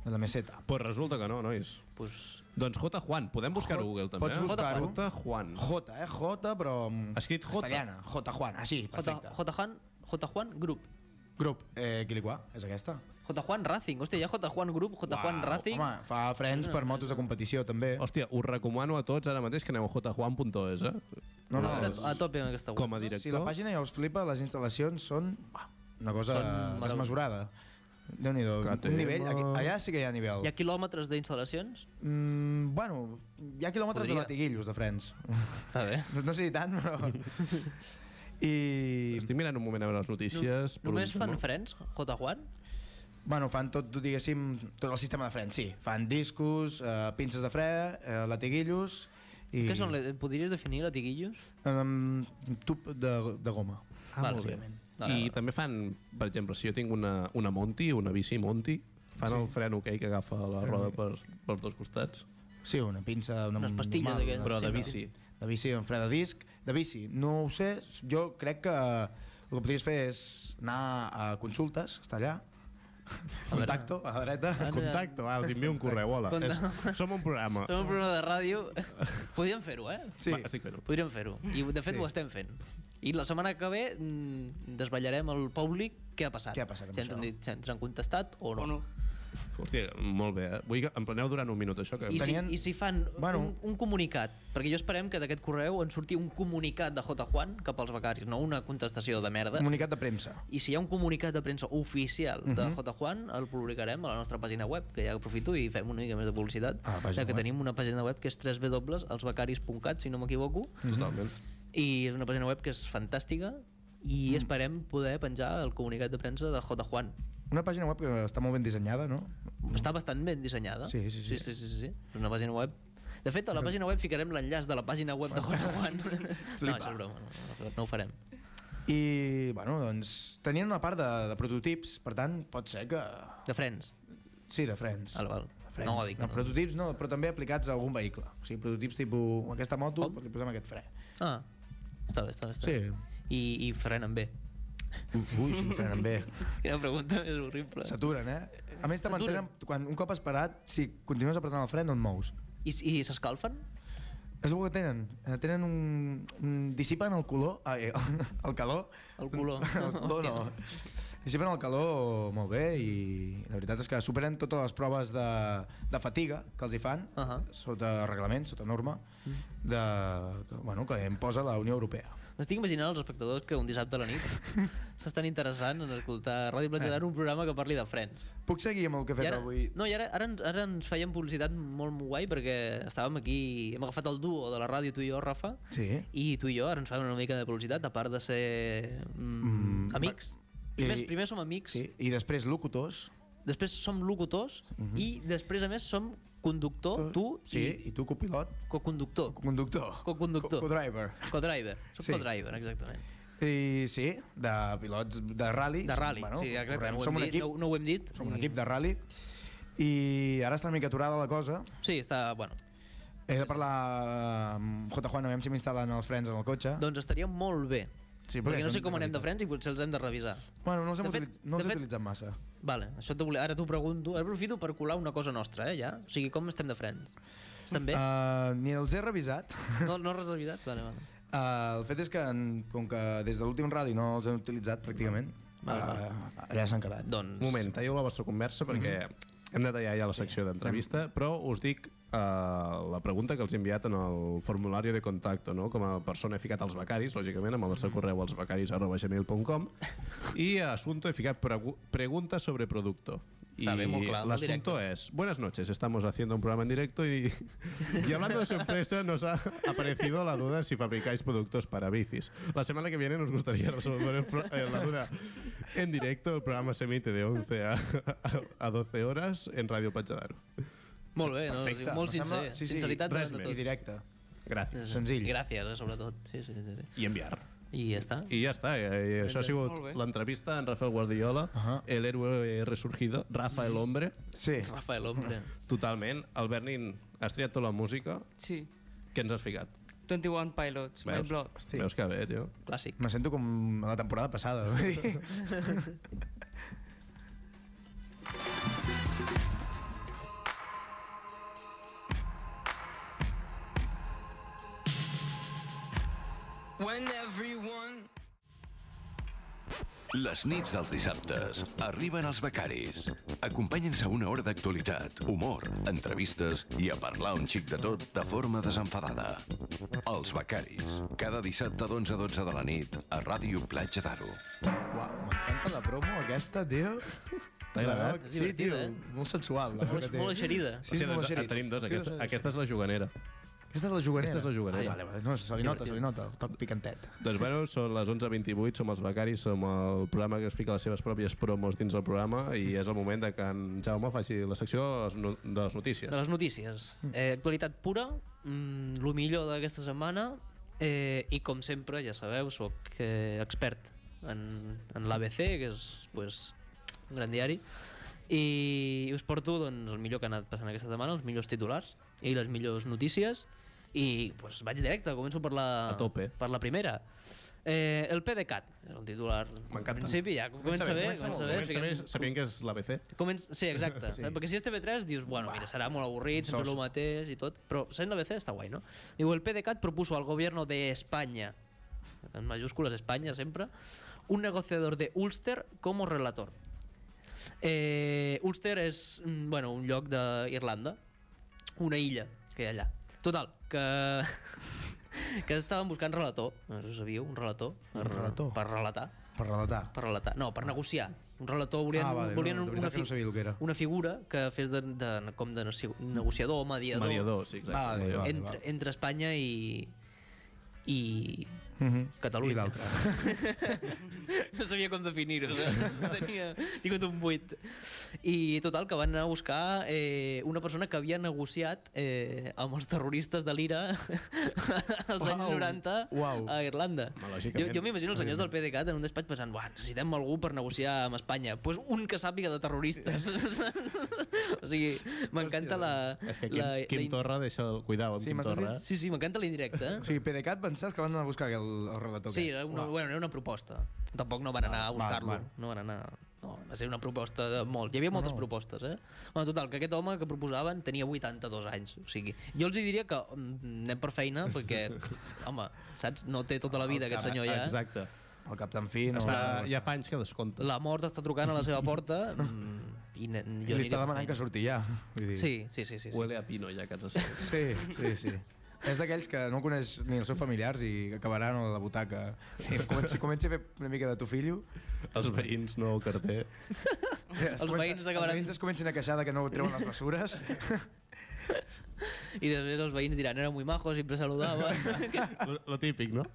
S3: de la meseta.
S1: Pues resulta que no, nois.
S2: Pues,
S1: Doncs J. Juan, podem buscar-ho a Google, també.
S3: Pots
S1: eh?
S3: buscar-ho.
S1: J. Juan.
S3: J, eh? J, però... amb
S1: Escrit J.
S3: Castellana. J, Juan. Ah, sí,
S2: J,
S3: perfecte.
S2: J. Juan, J. Juan Group.
S3: Grup. Eh, Quiliquà, és aquesta?
S2: J. Juan Racing. Hòstia, hi ha J. Juan Group, J. Juan
S3: Uau,
S2: Racing.
S3: Home, fa frens per motos de competició, també.
S1: Hòstia, us recomano a tots ara mateix que aneu a jjuan.es, eh?
S3: No, no,
S2: Ara
S3: és-
S2: a tope amb aquesta web.
S1: Com a director...
S3: Si la pàgina ja us flipa, les instal·lacions són bah, una cosa
S2: Són meravell-
S3: desmesurada. Déu-n'hi-do.
S1: Catema.
S3: Un nivell, aquí, allà sí que hi ha nivell.
S2: Hi ha quilòmetres d'instal·lacions?
S3: Mm, bueno, hi ha quilòmetres
S2: Podria-
S3: de latiguillos de frens.
S2: Està bé.
S3: No, no sé si tant, però... I...
S1: Estic mirant un moment a veure les notícies. per
S2: Només
S1: un-
S2: fan frens, J. Juan?
S3: Bueno, fan tot, diguéssim, tot el sistema de frens, sí. Fan discos, eh, pinces de fre, eh, latiguillos... I...
S2: Què són? le- Podries definir latiguillos?
S3: Um, tub de, de goma.
S1: Ah, molt bé.
S3: bàsicament.
S2: Vale,
S1: I
S2: vale.
S1: també fan, per exemple, si jo tinc una, una Monti, una bici Monti, fan el fren ok que agafa la roda per, per dos costats.
S3: Sí, una pinça... Una,
S2: Unes pastilles
S3: normal,
S2: d'aquelles,
S1: Però
S2: sí,
S1: de
S2: no?
S1: bici.
S3: De bici, en fre de disc. De bici, no ho sé, jo crec que el que podries fer és anar a consultes, està allà, contacto, a la dreta.
S2: Ah, no.
S1: Contacte, va, els envio un correu, hola. És, som un programa.
S2: Som un programa de ràdio. Podríem fer-ho, eh?
S1: Sí. Va, estic fent-ho.
S2: Podríem fer-ho. I de fet sí. ho estem fent. I la setmana que ve mm, desvetllarem al públic què ha passat.
S3: Què ha passat amb
S2: si ens
S3: això?
S2: han dit, si ens han contestat o no.
S4: O no.
S1: Hòstia, molt bé, eh? Vull que em planeu durant un minut, això que...
S2: I,
S3: Tenien-
S2: si, I si fan
S3: Bueno.
S2: bueno. un, un comunicat, perquè jo esperem que d'aquest correu en surti un comunicat de J. Juan cap als becaris, no una contestació de merda.
S3: Comunicat de premsa.
S2: I si hi ha un comunicat de premsa oficial de
S3: Mhm.
S2: J. Juan, el publicarem a la nostra pàgina web, que ja aprofito i fem una mica més de publicitat,
S3: A la pàgina
S2: ja que
S3: web.
S2: tenim una pàgina web que és www.elsbecaris.cat, si no m'equivoco,
S1: Totalment.
S2: i és una pàgina web que és fantàstica i
S3: Mm.
S2: esperem poder penjar el comunicat de premsa de J. Juan.
S3: Una pàgina web que està molt ben dissenyada, no?
S2: Està bastant ben dissenyada.
S3: Mm. Sí, sí, Mm. sí.
S2: sí, sí, sí, sí. És una pàgina web de fet, a la pàgina web ficarem l'enllaç de la pàgina web de J. Juan. no, això és broma, no, no ho farem.
S3: I, bueno, doncs, tenien una part de, de prototips, per tant, pot ser que...
S2: De Friends.
S3: Sí, de frens.
S2: Al val.
S3: De frens.
S2: No, dic que
S3: no,
S2: no.
S3: prototips no, però també aplicats a algun vehicle. O sigui, prototips tipus aquesta moto,
S2: Com?
S3: doncs li posem aquest fre.
S2: Ah, està bé, està bé. Està bé. I, I frenen bé.
S3: Ui, si frenen bé.
S2: Quina pregunta més horrible.
S3: S'aturen, eh? A més, te
S2: S'aturen.
S3: mantenen... Quan, un cop has parat, si continues apretant el fre, no et mous.
S2: I, i s'escalfen?
S3: És el que tenen. Eh, Tenen un... un dissipen el color... Ah, eh, el calor.
S2: El color.
S3: El color no. Dissipen el calor molt bé i la veritat és que superen totes les proves de, de fatiga que els hi fan
S2: Ahà. Mm.
S3: sota reglament, sota norma, de, que, bueno, que em posa la Unió Europea.
S2: M'estic imaginant els espectadors que un dissabte a la nit s'estan interessant en escoltar Ràdio Platja d'Aro, un programa que parli de Friends.
S3: Puc seguir amb el que he
S2: I
S3: fet
S2: ara,
S3: avui?
S2: no, i ara, ara, ens- ara ens feien publicitat molt guai perquè estàvem aquí, hem agafat el duo de la ràdio, tu i jo, Rafa,
S3: Sí.
S2: i tu i jo ara ens fan una mica de publicitat, a part de ser mm,
S3: Mm,
S2: amics.
S3: i-
S2: Primer, primer som amics,
S3: Sí. I després locutors.
S2: després som locutors i després, a més, som conductor, tu
S3: Mhm. Sí, i,
S2: i
S3: tu copilot,
S2: coconductor,
S3: conductor.
S2: Coconductor.
S3: Co- Co-driver.
S2: co-driver, som
S3: Sí.
S2: co-driver, exactament.
S3: I sí, de pilots de rally.
S2: De rally,
S3: Bueno,
S2: sí, exacte,
S3: correm,
S2: no ho,
S3: som
S2: hem
S3: un
S2: dit,
S3: equip,
S2: no, no ho hem dit. Mm.
S3: som un equip de rally. I ara està una mica aturada la cosa,
S2: Sí, està, bueno,
S3: He de parlar amb J. Juan, a veure si m'instal·len els frens en el cotxe.
S2: Doncs estaria molt bé.
S3: Ah. Sí, perquè
S2: perquè no sé
S3: són-
S2: com anem de frens i potser els hem de revisar.
S3: Bueno, no els, hem
S2: De fet-
S3: utilitzat,
S2: de
S3: no els he
S2: fet-
S3: utilitzat massa.
S2: Vale, això t'ho volia... Ara t'ho pregunto. Aprofito per colar una cosa nostra, eh, ja? O sigui, com estem de frens? Estem bé?
S3: Uh, ni els he revisat.
S2: No, no res evitat? Vale, vale.
S3: Uh, el fet és que, en, com que des de l'últim ràdio no els he utilitzat pràcticament, uh, allà s'han quedat.
S1: Un
S2: Doncs...
S1: moment, talleu la vostra conversa perquè hem de tallar ja la secció d'entrevista, però us dic eh, la pregunta que els he enviat en el formulari de contacte, no? com a persona he ficat els becaris, lògicament, amb el nostre correu als becaris arroba gmail.com i a assunto he ficat pregu pregunta sobre producto.
S2: Està
S1: y
S2: bé, molt clar,
S1: el
S2: molt
S1: asunto es, buenas noches, estamos haciendo un programa en directo y, y hablando de su empresa nos ha aparecido la duda si fabricáis productos para bicis. La semana que viene nos gustaría resolver el pro- eh, la duda en directo. El programa se emite de 11 a, a 12 horas en Radio Pachadaro.
S2: Molt bé, no?
S3: Perfecte.
S2: molt
S3: Em sembla-
S2: sincer.
S3: sí, sí,
S2: Sinceritat
S1: res
S2: de, de
S1: més.
S3: I
S2: tot.
S3: directe.
S2: doncs.
S1: Gracias.
S3: Senzill.
S2: Gràcies, eh, sobretot. Sí, sí, sí, sí.
S1: I enviar.
S2: I ja està.
S1: I ja està. I, això eh, ha sigut
S4: Molt bé.
S1: l'entrevista en Rafael Guardiola,
S3: Ahà.
S1: el héroe resurgido, Rafa el hombre.
S3: Sí.
S2: Rafael, hombre.
S1: Totalment. Albert Nin, has triat tota la música.
S4: Sí.
S1: Què ens has ficat?
S4: 21 Pilots, my
S1: Veus?
S4: blog.
S3: Hosti,
S1: Veus que bé, tio.
S2: Clàssic.
S3: me sento com la temporada passada. vull dir.
S5: When everyone
S6: Les nits dels dissabtes arriben els becaris. Acompanyen-se a una hora d'actualitat, humor, entrevistes i a parlar un xic de tot de forma desenfadada. Els becaris. Cada dissabte d'11 a 12 de la nit a Ràdio Platja d'Aro.
S3: Uau, m'encanta la promo aquesta, tio.
S1: T'ha agradat?
S2: És
S3: Sí, tio,
S2: divertida, eh?
S3: molt sensual. La veu
S2: Molt,
S3: que té.
S2: molt eixerida.
S3: Sí, és
S1: doncs,
S3: molt
S1: en
S3: eixerit.
S1: tenim dos.
S3: Tio,
S1: Aquesta,
S3: és-
S1: aquesta és la juganera.
S3: Aquesta és la juganera.
S1: Aquesta és la juganera.
S3: Ah, vale, vale. No, se li nota, se li
S2: Divertit.
S3: nota, el toc picantet.
S1: Doncs bueno, són les 11.28, som els becaris, som el programa que es fica les seves pròpies promos dins del programa i és el moment de que en Jaume faci la secció de les, no de les notícies.
S2: De les notícies.
S1: Mm.
S2: Eh, actualitat pura, mm, lo millor d'aquesta setmana, eh, i com sempre, ja sabeu, sóc eh, expert en, en l'ABC, que és pues, un gran diari, i us porto doncs, el millor que ha anat passant aquesta setmana, els millors titulars i les millors notícies, i pues, vaig directe, començo per la,
S1: A tope.
S2: per la primera. Eh, el PDeCAT, era un titular.
S1: M'encanta.
S2: Al principi ja, comença, bé, comença
S1: Comença
S2: bé.
S1: bé
S2: fiquem-
S1: sabent que és l'ABC.
S2: Comença, sí, exacte. sí. Perquè si és TV3 dius, bueno, mira, serà molt avorrit, sempre el mateix i tot, però sent la BC està guai, no? Diu, el PDeCAT propuso al gobierno de España, en mayúsculas España siempre, un negociador de Ulster como relator. Eh, Ulster és, mm, bueno, un lloc d'Irlanda, una illa que hi ha allà. Total, que... que estaven buscant relator, no sé si ho sabíeu, un relator, per,
S3: relator?
S2: per relatar
S3: Per relatar.
S2: per relatar, no, per negociar. Un relator volien,
S3: Ah, vale,
S2: volien
S3: no, de
S2: un- una,
S3: veritat que no sabia el que era.
S2: una figura que fes de, de, com de negoci- negociador, mediador,
S1: Mediador, sí, exacte.
S3: Vale,
S1: mediador.
S3: vale.
S2: entre, entre Espanya i, i
S3: Mhm.
S2: Catalunya.
S3: I l'altre.
S2: no sabia com definir-ho, saps? no tenia tingut un buit. I total, que van anar a buscar eh, una persona que havia negociat eh, amb els terroristes de l'IRA als
S3: Uau,
S2: anys 90
S3: uau.
S2: a Irlanda.
S1: Home,
S2: Jo,
S1: lògicament.
S2: jo m'imagino els senyors del PDeCAT en un despatx pensant, buah, necessitem algú per negociar amb Espanya. Doncs pues un que sàpiga de terroristes. o sigui, m'encanta la...
S1: És que Quim,
S2: la,
S1: Quim
S2: la in-
S1: Torra deixa... Cuidao amb
S3: Sí,
S1: Quim
S3: m'estàs
S1: Torra.
S3: dient-
S2: Sí, sí, m'encanta l'indirecte.
S3: O sigui, PDeCAT pensaves que van anar a buscar el, el relator.
S2: Sí,
S3: aquest.
S2: era una,
S3: Uau.
S2: bueno, era una proposta. Tampoc no van anar a
S3: Ah, val,
S2: buscar-lo.
S3: val.
S2: No van anar... No, va ser una proposta de molt. Hi havia moltes propostes, eh? Bueno, total, que aquest home que proposaven tenia 82 anys. O sigui, jo els hi diria que mm, anem per feina, perquè, home, saps? No té tota la vida aquest senyor ja.
S1: Ah, Exacte.
S2: eh?
S3: El cap tan fi no...
S1: Està,
S3: no-
S1: ja fa anys que descompta.
S2: La mort està trucant a la seva porta mm, i ne, jo
S3: Li
S2: aniré
S3: està
S2: per
S3: demanant que
S2: feina.
S3: surti ja. Vull dir.
S2: Sí, sí, sí, sí. sí.
S1: Huele a pino ja a casa seva.
S3: Sí, sí, sí. És d'aquells que no coneix ni els seus familiars i acabaran a la butaca. I comença, comença a fer una mica de tu fillo.
S1: Els veïns, no el carter.
S3: Es
S2: Els veïns acabaran-
S3: Els veïns es comencen a queixar de que no treuen les mesures.
S2: I després els veïns diran, era muy majo, sempre saludava.
S1: lo, lo típic, no?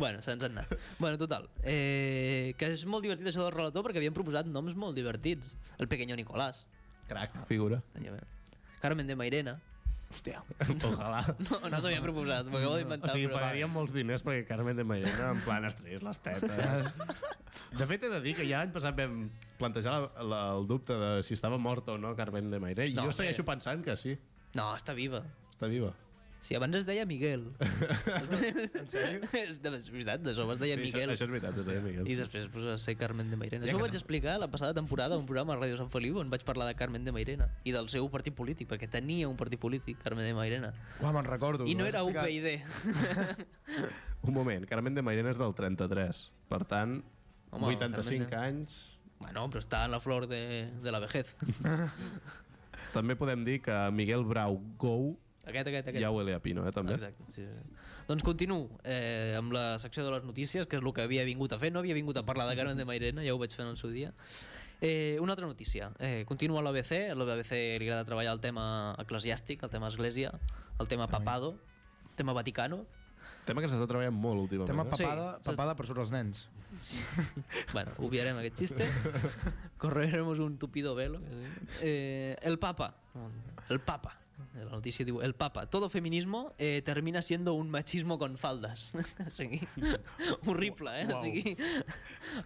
S2: Bueno, se'ns han anat. Bueno, total. Eh, que és molt divertit això del relator perquè havien proposat noms molt divertits. El pequeño Nicolás,
S1: Crac, figura.
S2: senyor meu. Carmen de Mairena.
S3: Hòstia.
S1: Ojalà.
S2: No, no s'havia proposat, m'ho acabo
S1: O
S2: d'inventar.
S1: sigui,
S2: però-
S1: pagaríem molts diners perquè Carmen de Mairena, en plan, estrès les tetes. De fet, he de dir que ja l'any passat vam plantejar la, la, el dubte de si estava morta o no eh. Carmen de Mairena, i
S2: No,
S1: jo segueixo
S2: bé.
S1: pensant que sí.
S2: No, està viva.
S1: Està viva.
S2: Sí, abans es deia Miguel. en sèrio? És de- és veritat, de sobre es deia
S1: Sí,
S2: Miguel.
S1: Això, això és veritat, es deia Miguel.
S2: I després pues, a ser Carmen de Mairena. Això ho vaig explicar la passada temporada a un programa a Ràdio Sant Feliu on vaig parlar de Carmen de Mairena i del seu partit polític, perquè tenia un partit polític, Carmen de Mairena.
S3: Uah, me'n recordo.
S1: Doncs
S2: I no era
S3: un país.
S2: UPyD.
S1: Un moment, Carmen de Mairena és del 33. Per tant,
S2: Home,
S1: 85
S2: Carmen de-
S1: anys...
S2: bueno, però està en la flor de, de la vejez.
S1: També podem dir que Miguel Brau Gou
S2: Aquest, aquest, aquest.
S1: ja huele a Pino, eh, també.
S2: Exacte, sí, sí. Doncs continuo eh, amb la secció de les notícies, que és el que havia vingut a fer. No havia vingut a parlar de Carmen de Mairena, ja ho vaig fer en el seu dia. Eh, una altra notícia. Eh, continuo a l'ABC. A l'ABC li agrada treballar el tema eclesiàstic, el tema església, el tema papado, el tema vaticano.
S1: Tema que s'està treballant molt últimament.
S3: Tema
S1: eh?
S3: papada,
S2: Sí.
S3: papada per sobre els nens.
S2: bueno, obviarem aquest xiste. Correremos un tupido velo. que sí. Eh, el Papa. El Papa. La noticia digo, el Papa. Todo feminismo eh, termina siendo un machismo con faldas. o sigui, horrible, eh? O sigui,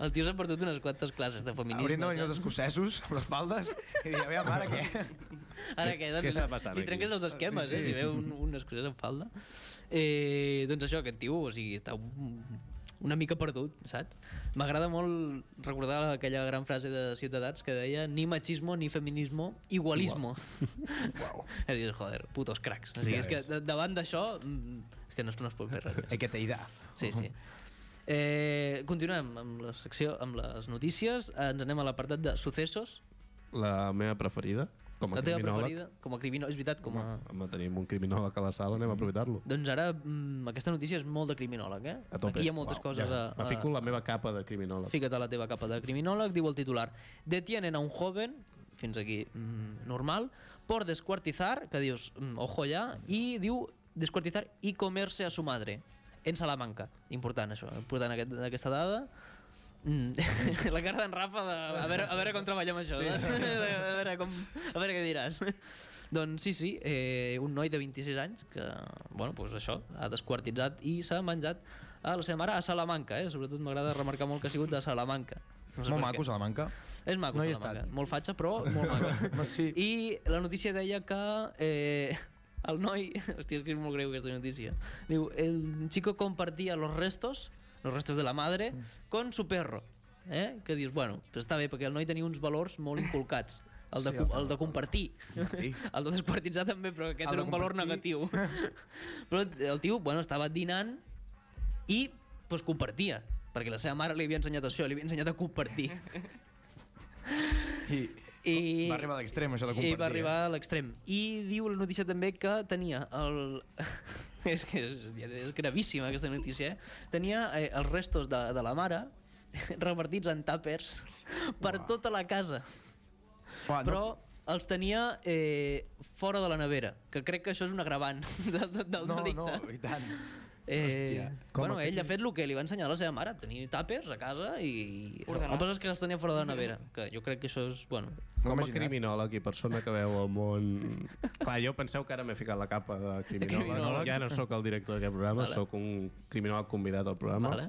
S2: el tio s'ha perdut unes quantes classes de feminisme.
S3: Haurien de venir els
S2: saps?
S3: escocesos amb les faldes i dir, a veure, mare, què?
S2: Ara què? Doncs,
S1: Què està passant
S2: li
S1: aquí?
S2: trenques els esquemes, sí, sí. eh? Si veu un, un escocès en falda. Eh, doncs això, aquest tio, o sigui, està un, una mica perdut, saps? M'agrada molt recordar aquella gran frase de Ciutadans que deia ni machismo, ni feminismo, igualismo. Wow. I dius, joder, putos cracs. O sigui,
S3: Ja
S2: és que
S3: ves.
S2: da- davant d'això mm, és que no, es- no es pot fer res.
S3: Hay que teidar.
S2: Sí, sí. Eh, continuem amb la secció, amb les notícies. Ens anem a l'apartat de successos.
S1: La meva preferida, com a
S2: La teva
S1: criminòleg.
S2: preferida, com a criminòleg, és veritat, com a...
S1: Home, tenim un criminòleg a la sala, anem a aprofitar-lo.
S2: Doncs ara mm, aquesta notícia és molt de criminòleg, eh?
S1: A tope.
S2: Aquí hi ha moltes
S1: Uau,
S2: coses
S1: ja.
S2: a...
S1: Me fico la meva capa de criminòleg.
S2: Fica't a la teva capa de criminòleg, diu el titular. Detienen a un joven, fins aquí mm, normal, por descuartizar, que dius, mm, ojo ja, i diu descuartizar i comerse a su madre, en Salamanca. Important, això, important aquest, aquesta dada. Mm. la cara d'en Rafa de, a, veure, a veure com treballem això sí. a, veure com, a veure què diràs doncs sí, sí, eh, un noi de 26 anys que, bueno, pues això ha desquartitzat i s'ha menjat a la seva mare a Salamanca, eh? sobretot m'agrada remarcar molt que ha sigut a Salamanca no sé
S3: Molt
S2: per
S3: maco,
S2: què.
S3: Salamanca.
S2: És maco,
S3: No
S2: no
S3: hi he
S2: Salamanca.
S3: estat.
S2: Molt fatxa, però molt maco.
S3: No, sí.
S2: I la notícia deia que... Eh, el noi... Hòstia, és que és molt greu aquesta notícia. Diu, el chico compartía los restos, los restos de la madre,
S3: Mm.
S2: con su perro. Eh? Que dius, bueno, pues està bé, perquè el noi tenia uns valors molt inculcats. El de,
S3: Sí,
S2: sí,
S3: el-
S2: el de compartir. El de desquartitzar també, però aquest
S3: El de
S2: era un valor
S3: compartir.
S2: negatiu. però el tio, bueno, estava dinant i pues, compartia, perquè la seva mare li havia ensenyat això, li havia ensenyat a compartir.
S3: I,
S2: I,
S3: va arribar a l'extrem, això de compartir.
S2: I va arribar
S3: eh?
S2: a l'extrem. I diu la notícia també que tenia el... és que és, és gravíssima aquesta notícia, eh? Tenia eh, els restos de, de la mare repartits en tàpers per tota la casa.
S3: Uah, Ah, no,
S2: Però els tenia eh, fora de la nevera, que crec que això és un agravant de, de, del
S3: no,
S2: delicte.
S3: no, i tant.
S2: Eh,
S3: Hòstia. Com
S2: bueno,
S3: aquell-
S2: ell ha fet el que li va ensenyar la seva mare, tenir tàpers a casa i... El
S4: Ordenat.
S2: que passa és que els tenia fora de la nevera, que jo crec que això és... Bueno,
S3: M'ho he
S1: Com a
S3: imaginat.
S1: criminòleg i persona que veu el món... Clar, jo penseu que ara m'he ficat la capa de criminòleg.
S2: Criminòleg.
S1: Ja no sóc el director d'aquest programa,
S2: Vale.
S1: sóc un criminòleg convidat al programa.
S2: Vale.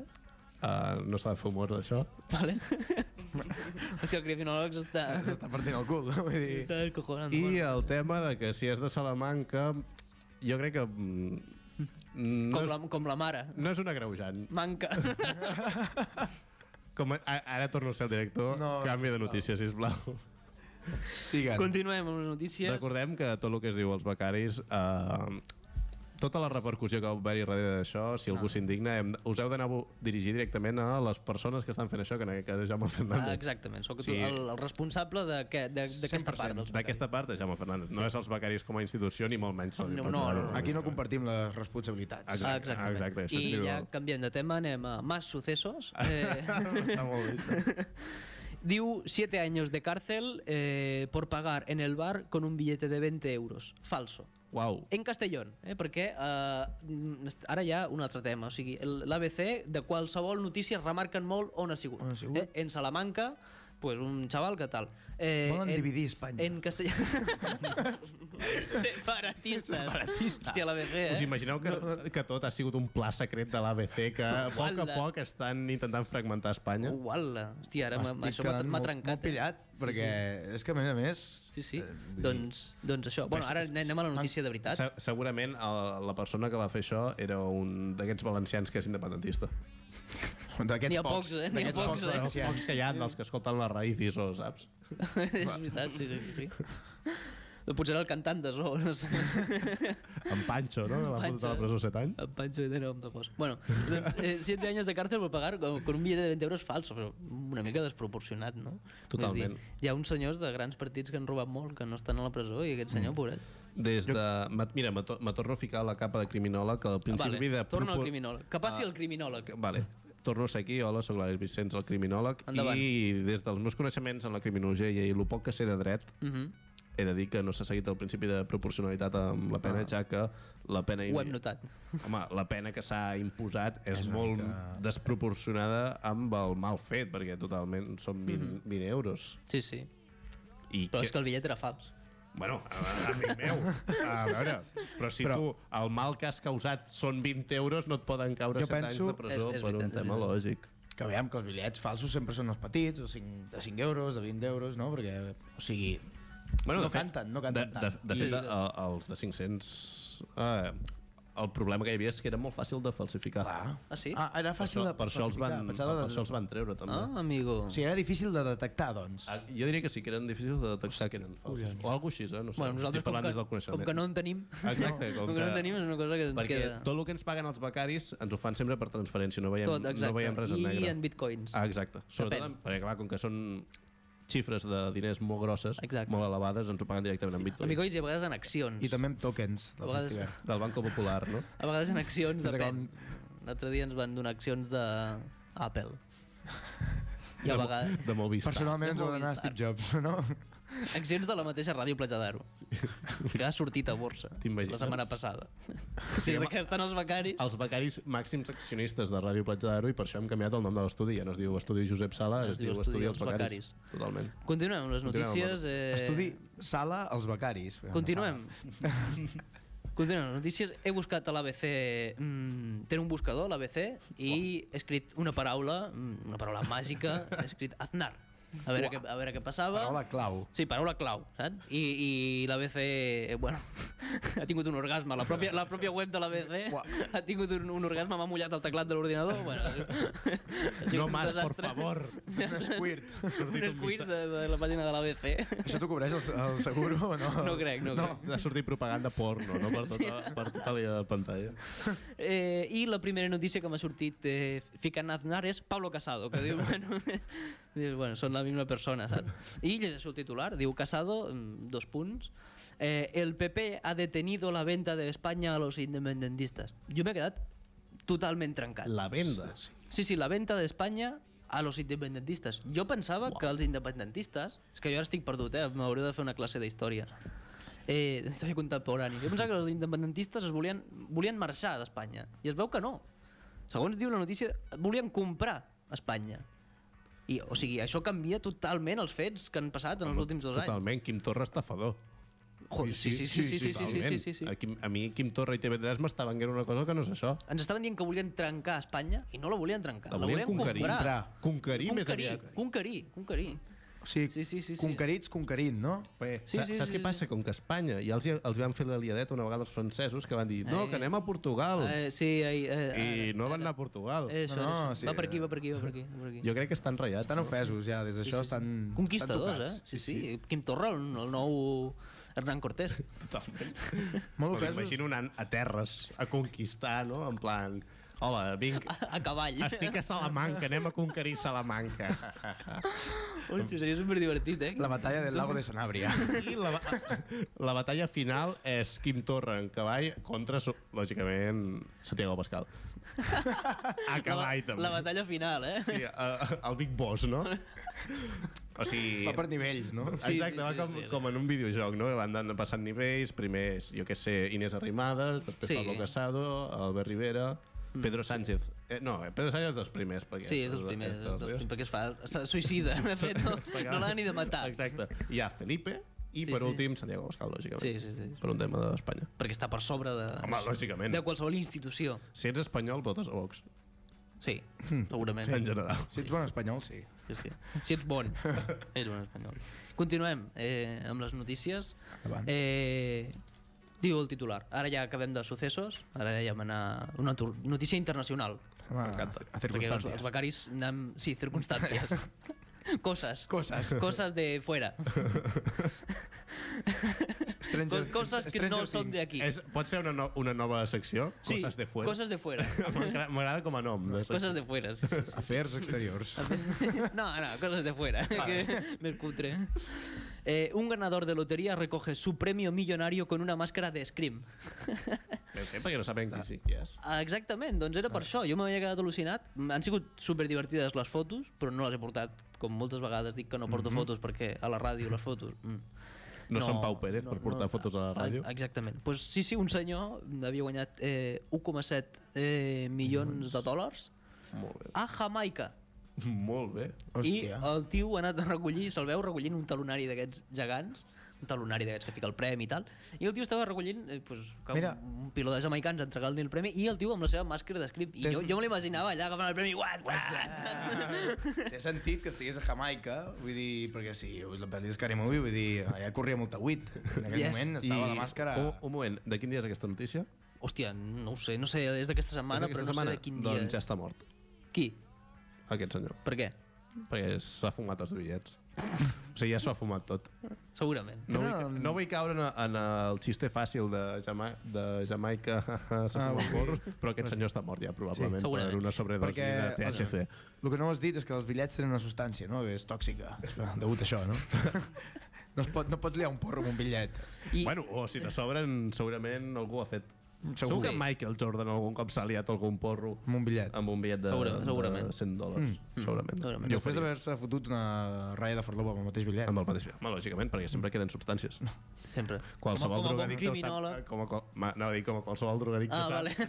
S1: Uh, no s'ha de fer humor d'això.
S2: vale? Hòstia, el criminòleg està...
S3: S'està partint el cul, vull dir...
S2: Està descojonant.
S1: I eh,
S2: bueno.
S1: el tema de que si és de Salamanca, jo crec que... mm, No
S2: Com,
S1: és,
S2: la, com la mare.
S1: no és un agreujant.
S2: Manca.
S1: Com a, a- ara torno a ser el director.
S3: No,
S1: Canvi de notícies, sisplau.
S3: Siguen.
S2: Continuem amb les notícies.
S1: Recordem que tot el que es diu als becaris... Eh, tota la repercussió que va haver-hi darrere d'això, si algú s'indigna, hem- us heu d'anar a vo- dirigir directament a les persones que estan fent això, que en aquest cas és Jaume
S2: Ah,
S1: Fernández.
S2: exactament, sóc
S1: Sí.
S2: sí. el, el responsable de que- de- d'aquesta part. Dels
S1: D'aquesta part és Jaume Fernández. No és els becaris com a institució, ni molt menys.
S2: No, no, no.
S3: Aquí no compartim les responsabilitats.
S1: Exacte,
S2: Ah, exactament.
S1: exacte, això
S2: I
S1: diu
S2: ja
S1: el-
S2: canviem de tema, anem a más sucesos. Eh,
S3: Està molt bé, això.
S2: diu 7 años de cárcel eh, por pagar en el bar con un billete de 20 euros. Falso.
S1: Uau.
S2: En castellón, eh? perquè eh, mm, est- ara hi ha un altre tema. O sigui, el- l'ABC de qualsevol notícia remarquen molt on ha sigut.
S3: On ha sigut.
S2: Eh? En Salamanca, pues un chaval que tal. Eh,
S3: Volen dividir Espanya.
S2: En castellà... Separatistes. Separatistes. Hòstia, la BG, eh?
S1: Us imagineu que, que tot ha sigut un pla secret de l'ABC que a poc a
S2: Uala.
S1: poc estan intentant fragmentar Espanya?
S2: Uh, Uala. Hòstia, ara m'ha-
S3: Estic
S2: això m'ha
S3: quedant
S2: m'ha
S3: molt-
S2: trencat.
S3: Molt pillat,
S2: eh?
S3: perquè és que a més a més...
S2: Sí, sí.
S3: eh, vull dir,
S2: Doncs, doncs això. Bueno, ara anem a la notícia de veritat.
S1: Se segurament el, la persona que va fer això era un d'aquests valencians que és independentista.
S3: D'aquests
S2: N'hi ha pocs, eh? N'hi ha
S3: d'aquests
S2: pocs, eh?
S3: valencians.
S1: Pocs que hi ha dels que escolten la raïz i això, saps?
S2: és veritat, sí, sí, sí. Potser era el cantant de Zoo, no sé.
S1: En Pancho, no? De la, de
S2: Pancho.
S1: la presó 7 anys.
S2: El Pancho de Nerón de Bosch. Bueno, doncs, eh, 7 anys de càrcel per pagar con con un billet de 20 euros falso, però una mica desproporcionat, no?
S1: Totalment.
S2: Vull Dir, hi ha uns senyors de grans partits que han robat molt, que no estan a la presó, i aquest senyor, mm. pobret.
S1: Des de... ma- Mira, me to- me torno a ficar la capa de criminòleg que al principi de...
S2: torna Ah, al
S1: propor- Ah.
S2: criminòleg. Que passi el criminòleg.
S1: Que- Vale. Torno a ser aquí. Hola, sóc l'Àlex Vicenç, el criminòleg.
S2: Endavant.
S1: I des dels meus coneixements en la criminologia i el poc que sé de dret,
S2: Uh -huh.
S1: he de dir que no s'ha seguit el principi de proporcionalitat amb la pena, ja que la pena...
S2: Ah. Ho hem notat.
S1: Home, la pena que s'ha imposat és, és molt mica... desproporcionada amb el mal fet, perquè totalment són 20, mm -hmm. 20 euros.
S2: Sí, sí.
S1: I
S2: Mm-hmm. Però és que el bitllet era fals.
S1: Bueno, a- a- amic meu, a veure, però si però... tu el mal que has causat són 20 euros, no et poden caure
S3: Jo
S1: 7 anys
S3: penso-
S1: de presó
S2: És- és
S1: per
S2: veritat,
S1: un
S2: és
S1: tema
S2: veritat.
S1: lògic.
S3: Que veiem que els bitllets falsos sempre són els petits, de 5, de 5 euros, de 20 euros, no? Perquè, o sigui... no
S1: de fet-
S3: canten, no canten
S1: de,
S3: tant.
S1: De, de fet, el, els de 500... Eh, el problema que hi havia és que era molt fàcil de falsificar.
S3: Clar.
S2: Ah, sí?
S3: Ah, era
S1: Per
S3: fàcil
S1: això,
S3: de
S1: per això, els van,
S3: falsificar,
S1: per,
S3: pensava de-
S1: això els van treure, també.
S2: Ah, amigo.
S3: O sigui, era difícil de detectar, doncs.
S1: Ah, Jo diria que sí que eren difícils de detectar que eren falsos. O alguna cosa així, eh? No sé,
S2: Bueno, nosaltres,
S1: estic
S2: com
S1: parlant des del
S2: que,
S1: coneixement.
S2: com que no en tenim,
S1: Exacte, com,
S2: com que no en tenim és una cosa que ens
S1: perquè
S2: queda...
S1: tot el que ens paguen els becaris ens ho fan sempre per transferència, no veiem, no veiem res en
S2: I
S1: negre.
S2: en bitcoins.
S1: Ah, exacte. Sobretot,
S2: Depèn.
S1: en, perquè clar, com que són xifres de diners molt grosses,
S2: Exacte.
S1: molt elevades, ens ho paguen directament en
S2: En
S1: bitcoins.
S2: bitcoins i a vegades en accions.
S1: doncs
S3: I també amb tokens del
S2: A vegades-
S3: festival.
S1: Del Banco Popular, no?
S2: A vegades en accions,
S3: Des de
S2: depèn. L'altre dia ens van donar accions de Apple. I a vegades...
S1: De Movistar.
S3: Personalment ens ho va donar
S2: Movistar.
S3: Steve Jobs, no?
S2: Accions de la mateixa ràdio Platja d'Aro, que ha sortit a borsa
S1: T'imagines?
S2: la setmana passada. O sigui,
S1: home.
S2: que estan els becaris...
S1: Els becaris màxims accionistes de Ràdio Platja d'Aro i per això hem canviat el nom de l'estudi. Ja no es diu Estudi Josep Sala, es, diu Estudi els becaris. Totalment.
S2: Continuem amb les
S1: Continuem amb
S2: notícies. Eh...
S3: Estudi sala als becaris.
S2: Continuem. Continuem. les Notícies. He buscat a l'ABC... Mm, té un buscador, l'ABC, i he escrit una paraula, mm, una paraula màgica, he escrit Aznar. A veure, què, a veure què passava.
S3: Paraula clau.
S2: Sí, paraula clau, saps? I, i l'ABC, eh, bueno, ha tingut un orgasme. La pròpia, la pròpia web de l'ABC ha tingut un, un orgasme, m'ha mullat el teclat de l'ordinador. Bueno, ha sigut
S1: No
S2: un
S1: más, por
S2: desastre.
S1: favor.
S3: Un squirt.
S2: Un squid de, de la pàgina de l'ABC.
S3: Això t'ho cobreix el, el seguro o Ah. no?
S2: No crec, no, crec.
S1: Ha sortit propaganda porno, no? Per tota, per tota la pantalla.
S2: Eh, I la primera notícia que m'ha sortit eh, ficant Aznar és Pablo Casado, que diu, bueno, diu, bueno, són la misma persona, saps? I llegeixo el titular, diu Casado, mm, dos punts, eh, el PP ha detenido la venta de España a los independentistas. Jo m'he quedat totalment trencat.
S1: La venda.
S2: Sí, sí, la venta d'Espanya a los independentistas. Jo pensava que els independentistes... És que jo ara estic perdut, eh? M'hauré de fer una classe d'història. Eh, d'història contemporània. Jo pensava que els independentistes es volien, volien marxar d'Espanya. I es veu que no. Segons diu la notícia, volien comprar Espanya. I, o sigui, això canvia totalment els fets que han passat en els últims dos anys.
S1: Totalment, Quim Torra estafador.
S2: Joder, sí, sí, sí, sí, sí, sí, sí, sí, sí, sí.
S1: A, Quim, a mi Quim Torra i TV3 m'estaven dient una cosa que no és això.
S2: Ens estaven dient que volien trencar Espanya i no la volien trencar, la, volien,
S1: conquerir.
S2: comprar.
S1: Conquerir, més
S2: Conquerir,
S1: aviat.
S2: conquerir, conquerir.
S3: O sigui,
S2: Sí, sí, sí, sí.
S3: conquerits, conquerint, no?
S1: Bé, sí,
S2: Sí, sí,
S1: sí, saps
S2: sí,
S1: què
S2: sí.
S1: passa? Com que a Espanya ja els, hi- els van fer la liadeta una vegada els francesos que van dir no, que anem a Portugal.
S2: Eh, sí, ahí, eh,
S1: I no van anar a Portugal.
S2: eh, Eso,
S3: No, no,
S2: eso.
S3: sí,
S2: va per aquí,
S3: eh.
S2: va per aquí, va per aquí. Va per aquí.
S1: Jo crec que estan ratllats.
S3: Estan ofesos ja, des d'això estan...
S2: Conquistadors,
S3: estan
S2: eh?
S3: tocats.
S2: Sí, sí. Quim Torra, el, el nou Hernán Cortés.
S1: Totalment.
S3: Molt
S1: Però
S3: ofesos.
S1: M'imagino anant a terres a conquistar, no? En plan, hola, vinc,
S2: A, a cavall.
S1: estic a Salamanca, anem a conquerir Salamanca.
S2: Hòstia, seria superdivertit, eh?
S3: La batalla del lago de Sanabria.
S1: I la, ba- la batalla final és Quim Torra en cavall contra, so- lògicament, Santiago Pascal. A cavall,
S2: la,
S1: també.
S2: la batalla final, eh?
S1: Sí, eh, el Big Boss, no? O sigui...
S3: Va per nivells, no?
S2: sí,
S1: Exacte,
S2: sí,
S1: va
S2: sí,
S1: com,
S2: sí, sí.
S1: com en un videojoc, no? Van anant passant nivells, primer és, jo què sé, Inés Arrimadas, després
S2: Sí. Mm.
S1: Pablo Casado, Albert Rivera... Pedro Sánchez. Eh, no, eh, Pedro Sánchez és dels primers. Perquè
S2: Sí, és dels primers, és dels, perquè es fa... Se suïcida, de fet, no, no l'han ni de matar.
S1: Exacte. Hi ha Felipe i,
S2: Sí,
S1: sí, per
S2: sí.
S1: últim, Santiago Abascal, lògicament.
S2: Sí, sí, sí.
S1: Per un tema d'Espanya.
S2: Perquè està per sobre de...
S1: Home, lògicament.
S2: De qualsevol institució.
S1: Si ets espanyol, votes a Vox,
S2: Sí, segurament.
S1: en general.
S3: Si ets bon espanyol, sí.
S2: Sí, sí. Si ets bon, ets bon espanyol. Continuem eh, amb les notícies.
S3: Endavant.
S2: Eh, diu el titular. Ara ja acabem de successos, ara ja vam anar... Una tur- notícia internacional.
S3: Home,
S1: M'encanta.
S2: Perquè
S3: A
S2: els,
S3: circumstàncies.
S2: els becaris anem... Sí, circumstàncies. Coses.
S3: Coses.
S2: Coses de fuera.
S3: Stranger-
S2: Coses que no
S3: Stranger
S2: són
S3: Things.
S2: d'aquí.
S1: És, pot ser una, no, una nova secció?
S2: Sí,
S1: Coses de fuera.
S2: Coses de fuera.
S1: M'agrada m'agrada com a nom. De secció.
S2: Coses de fuera, sí, sí, sí.
S3: Afers exteriors.
S2: Ah. No, no, cosas de fuera, que me escutre. Eh, un ganador de lotería recoge su premio millonario con una máscara de Scream.
S1: Bé, sí, perquè no saben qui sí qui és.
S2: Ah, Exactament, doncs era per això. Jo m'havia quedat al·lucinat. Han sigut superdivertides les fotos, però no les he portat. Com moltes vegades dic que no porto fotos perquè a la ràdio les fotos... Mm.
S1: Mhm. No són Pau Pérez per portar fotos a la ràdio?
S2: Ah, Exactament. Pues sí, sí, un senyor havia guanyat eh, 1,7 eh, milions de dòlars
S1: Molt bé.
S2: a Jamaica.
S1: Molt bé.
S3: Hòstia.
S2: I el tio ha anat a recollir, se'l veu recollint un talonari d'aquests gegants, un talonari d'aquests que fica el premi i tal, i el tio estava recollint eh, pues, que
S3: Mira.
S2: un, un piló de jamaicans entregant-li el premi i el tio amb la seva màscara d'escrip. I
S3: Tens-
S2: jo, jo me l'imaginava allà agafant el premi, what, what,
S3: Té sentit que estigués a Jamaica, vull dir, perquè si us la pel·li de Scary Movie, vull dir, allà corria molta huit. En aquell
S2: Yes.
S3: moment estava la màscara...
S1: Un, un moment, de quin dia és aquesta notícia?
S2: Hòstia, no ho sé, no sé, és d'aquesta setmana,
S1: És
S2: però
S1: d'aquesta
S2: no
S1: setmana?
S2: sé de quin dia
S1: doncs ja
S2: és.
S1: està mort,
S2: Qui?
S1: aquest senyor.
S2: Per què?
S1: Perquè s'ha fumat els bitllets. O sigui, ja s'ho ha fumat tot.
S2: Segurament.
S1: No vull, no vull caure en, en el xiste fàcil de, Jama de Jamaica,
S3: Ah,
S1: s'ha fumat porros, però aquest senyor està mort ja, probablement,
S2: Sí,
S1: per
S2: segurament.
S1: una sobredosi
S3: Perquè,
S1: de THC.
S3: El que no has dit és que els bitllets tenen una substància, no? És tòxica, degut a això, no? no, es pot, no pots liar un porro amb un bitllet.
S2: I,
S1: Bueno, o si te sobren, segurament algú ho ha fet. Segur,
S3: Segur.
S1: que Michael Jordan algun cop s'ha liat algun porro
S3: Amb un bitllet.
S1: amb un bitllet de,
S2: Segurament, segurament.
S1: de 100 dòlars. Mm. Segurament.
S2: segurament.
S1: Jo ho
S3: Després
S1: faria.
S3: d'haver-se fotut una ratlla de farlopa amb el mateix bitllet.
S1: Amb el mateix bitllet. Home, lògicament, perquè sempre queden substàncies.
S2: sempre.
S1: Qualsevol
S2: com a, com a bon
S1: drogadicte ho
S2: criminòleg.
S1: sap. Com a, qual- ma- no, dic com a qualsevol drogadicte
S2: Ah,
S1: ho sap.
S2: vale.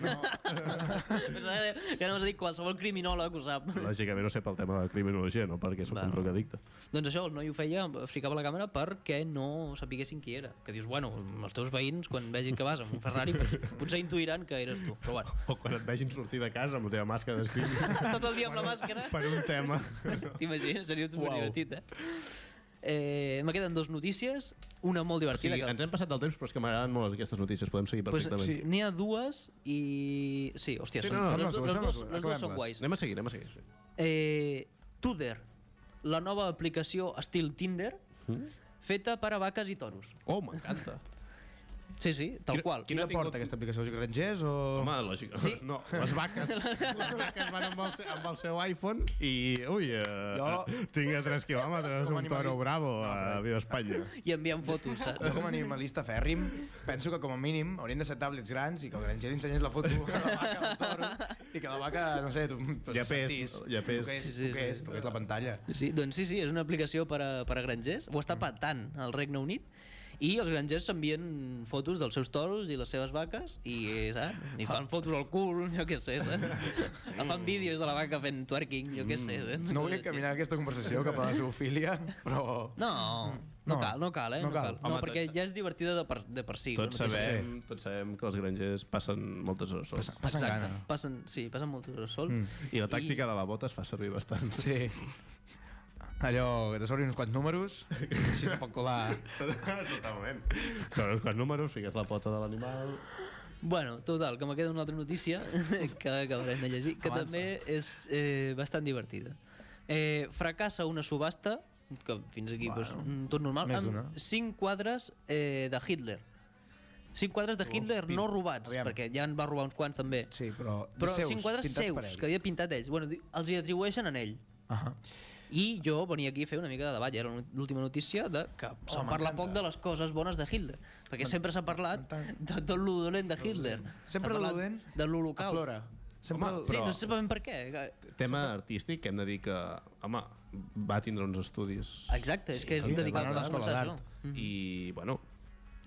S2: No. ja no m'has dit qualsevol criminòleg ho sap.
S1: Lògicament ho sé pel tema de criminologia, no perquè sóc
S2: Bueno.
S1: un drogadicte.
S2: Doncs això, el noi ho feia, ficava la càmera perquè no sapiguessin qui era. Que dius, bueno, els teus veïns, quan vegin que vas amb un Ferrari, pues, potser intuiran que eres tu. Però bueno,
S1: O quan et vegin sortir de casa amb la teva màscara d'escrim
S2: tot el dia amb la màscara,
S1: per un tema.
S2: t'imagines, seria tot divertit, eh? Eh, me queden dos notícies, una molt
S1: O sigui,
S2: divertida.
S1: ens hem passat del temps, però és que m'agraden molt aquestes notícies. Podem seguir
S2: que... Pues,
S1: perfectament.
S2: sí, n'hi ha dues i... Sí, hòstia,
S1: Sí,
S2: són,
S1: no, no,
S2: les,
S1: són
S2: do-
S3: les dues,
S2: les
S3: són
S2: dues,
S3: les dues,
S2: les dues són
S3: acabem-les.
S2: guais.
S1: Anem a seguir, anem a seguir. sí.
S2: Eh, Tuder, la nova aplicació estil Tinder,
S1: Hmm?
S2: feta per a vaques i toros.
S1: Oh, m'encanta.
S2: Sí, sí, tal
S1: Quina-
S2: qual.
S1: quina-
S3: Qui la
S1: tingut-
S3: porta, aquesta aplicació? Els grangers o...?
S1: Home, lògic.
S2: Sí.
S1: No, les vaques. les vaques van amb el, seu, amb el seu iPhone i... Ui, eh,
S3: Jo-
S1: tinc a 3 quilòmetres
S3: Com
S1: un toro
S3: animalista-
S1: bravo a Viva Espanya.
S2: I envien fotos, saps?
S3: Jo com a animalista fèrrim penso que com a mínim haurien de ser tablets grans i que el granger li ensenyés la foto a la vaca del toro i que la vaca, no sé, tu, tu
S1: Ja pes,
S3: sentís
S1: ja pes.
S3: el que és,
S2: Sí,
S3: sí,
S2: sí,
S3: sí, que
S2: sí.
S3: és, el que és la pantalla.
S2: Sí, doncs sí, sí, és una aplicació per a, per a grangers. Ho
S3: Mm.
S2: està patant al Regne Unit. I els grangers s'envien fotos dels seus toros i les seves vaques i, eh, saps? I fan fotos al cul, jo què sé, saps? Fan vídeos de la vaca fent twerking, jo què sé, saps?
S3: Mm.
S2: Coses
S3: No vull
S2: així.
S3: caminar aquesta conversació cap a la zoofília, però...
S2: No, no,
S3: Mm. No.
S2: cal, no cal, eh?
S3: No
S2: No,
S3: cal.
S2: cal. no
S1: Home,
S2: perquè
S1: tots-
S2: ja és divertida de per, de per si.
S1: Tots
S2: la mateixa-
S1: sabem, tots sabem que els grangers passen moltes hores. sols.
S3: Passen
S2: Exacte,
S3: gana.
S2: passen, sí, passen moltes hores sol.
S3: Mm.
S1: I la tàctica de la bota es fa servir bastant.
S3: Sí. Allò, que te sobrin uns quants números, així se pot colar.
S1: Totalment. Però quan números fiques la pota de l'animal...
S2: Bueno, total, que me queda una altra notícia que acabarem de llegir, que
S3: Avança.
S2: també és eh, bastant divertida. Eh, fracassa una subhasta, que fins aquí bueno, pues, mm, tot normal,
S3: més d'una.
S2: amb cinc quadres eh, de Hitler. Cinc quadres de Hitler no robats,
S3: Aviam.
S2: perquè ja en va robar uns quants també.
S3: Sí, però, de
S2: Però
S3: seus,
S2: cinc quadres
S3: pintats per
S2: seus,
S3: ell.
S2: que havia pintat ells. Bueno, di- els hi atribueixen a ell.
S3: Ahà.
S2: I jo venia aquí a fer una mica de davalla, era l'última notícia de que se'n parla
S3: m'encanta.
S2: poc de les coses bones de Hitler, perquè sempre s'ha parlat
S3: m'encanta.
S2: de tot lo dolent de Hitler.
S3: Sempre
S2: S'ha
S3: lo
S2: parlat
S3: dolent
S2: De l'Holocaust.
S3: Aflora. Sempre...
S1: Home,
S3: el-
S2: Sí,
S1: Ah, Però-
S2: no sé ben per què.
S1: Tema artístic, que hem de dir que, home, va tindre uns estudis
S2: Exacte, és que és
S3: sí,
S2: dedicat
S3: van
S2: a
S3: anar a
S2: la
S3: l'escola
S2: escola
S3: d'art.
S2: d'art.
S1: i, bueno,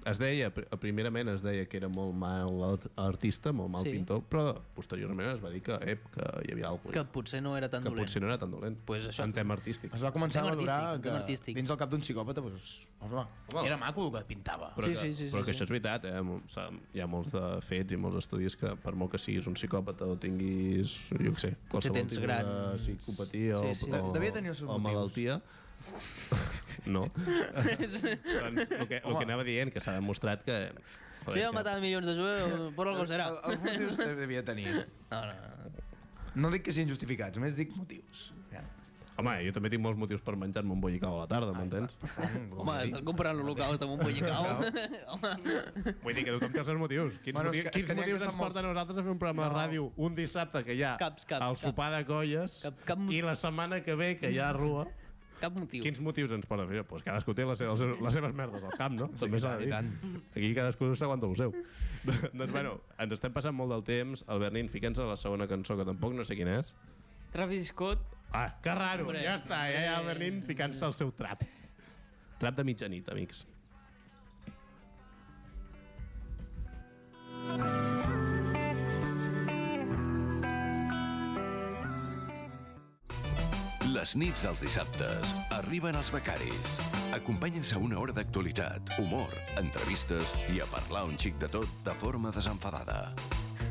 S1: es deia, pr- primerament es deia que era molt mal art- artista, molt mal
S2: Sí.
S1: sí. pintor, però posteriorment es va dir que, ep, que hi havia alguna
S2: Que
S1: cosa
S2: potser no era tan
S1: que
S2: dolent.
S1: potser no era tan dolent
S2: Pues això.
S1: en tema artístic.
S3: Es va començar a
S2: Tema artístic,
S3: valorar
S2: tema
S3: que
S2: artístic.
S3: dins el cap d'un psicòpata, doncs, home,
S1: Home.
S3: era maco el que pintava.
S1: Però,
S2: Sí,
S1: que,
S2: sí, sí, sí,
S1: però que
S2: sí.
S1: això és veritat, eh? Mo- s'ha- hi ha molts de fets i molts estudis que per molt que siguis un psicòpata o tinguis, jo què sé, qualsevol
S2: tens
S1: tipus de
S2: grans-
S1: psicopatia
S2: Sí,
S1: o,
S2: sí.
S1: o,
S3: Devia tenir els seus
S1: o
S3: motius.
S1: malaltia, no. doncs, el, que, el que anava dient, que s'ha demostrat que... joder,
S2: Si ha
S1: que-
S2: matat milions de jueus, por algo será.
S3: Al- Alguns motius devia tenir.
S2: No, no, no.
S3: No dic que siguin justificats, només dic motius. Ja.
S1: Home, jo també tinc molts motius per menjar-me un bollicau a la tarda, m'entens?
S2: Home, estàs comparant l'Holocaust amb un pollicau. Home,
S1: Vull dir que tothom té els seus motius. Quins,
S3: Bueno,
S1: bueno, motius,
S3: és que-
S1: quins
S3: és que n'hi ha
S1: motius ens
S3: que estan
S1: porten a nosaltres a fer un programa de ràdio un dissabte que hi ha
S2: Caps, cap,
S1: el
S2: cap.
S1: sopar de colles
S2: Cap- cap mot-
S1: i la setmana que ve que hi ha rua?
S2: cap motiu.
S1: Quins motius ens poden fer? Pues cadascú té les, les, les seves merdes al camp, no? Sí, També s'ha de dir. Aquí cadascú s'aguanta el seu. doncs, bueno, ens estem passant molt del temps. Albert Nin, fica'ns a la segona cançó, que tampoc no sé quina és.
S4: Travis Scott,
S1: Ah, que raro!
S2: Hombre,
S1: ja està, ja hi ha Albert Nin ficant-se al seu trap. Trap de mitjanit, amics.
S6: Les nits dels dissabtes arriben els becaris. Acompanyen-se a una hora d'actualitat, humor, entrevistes i a parlar un xic de tot de forma desenfadada.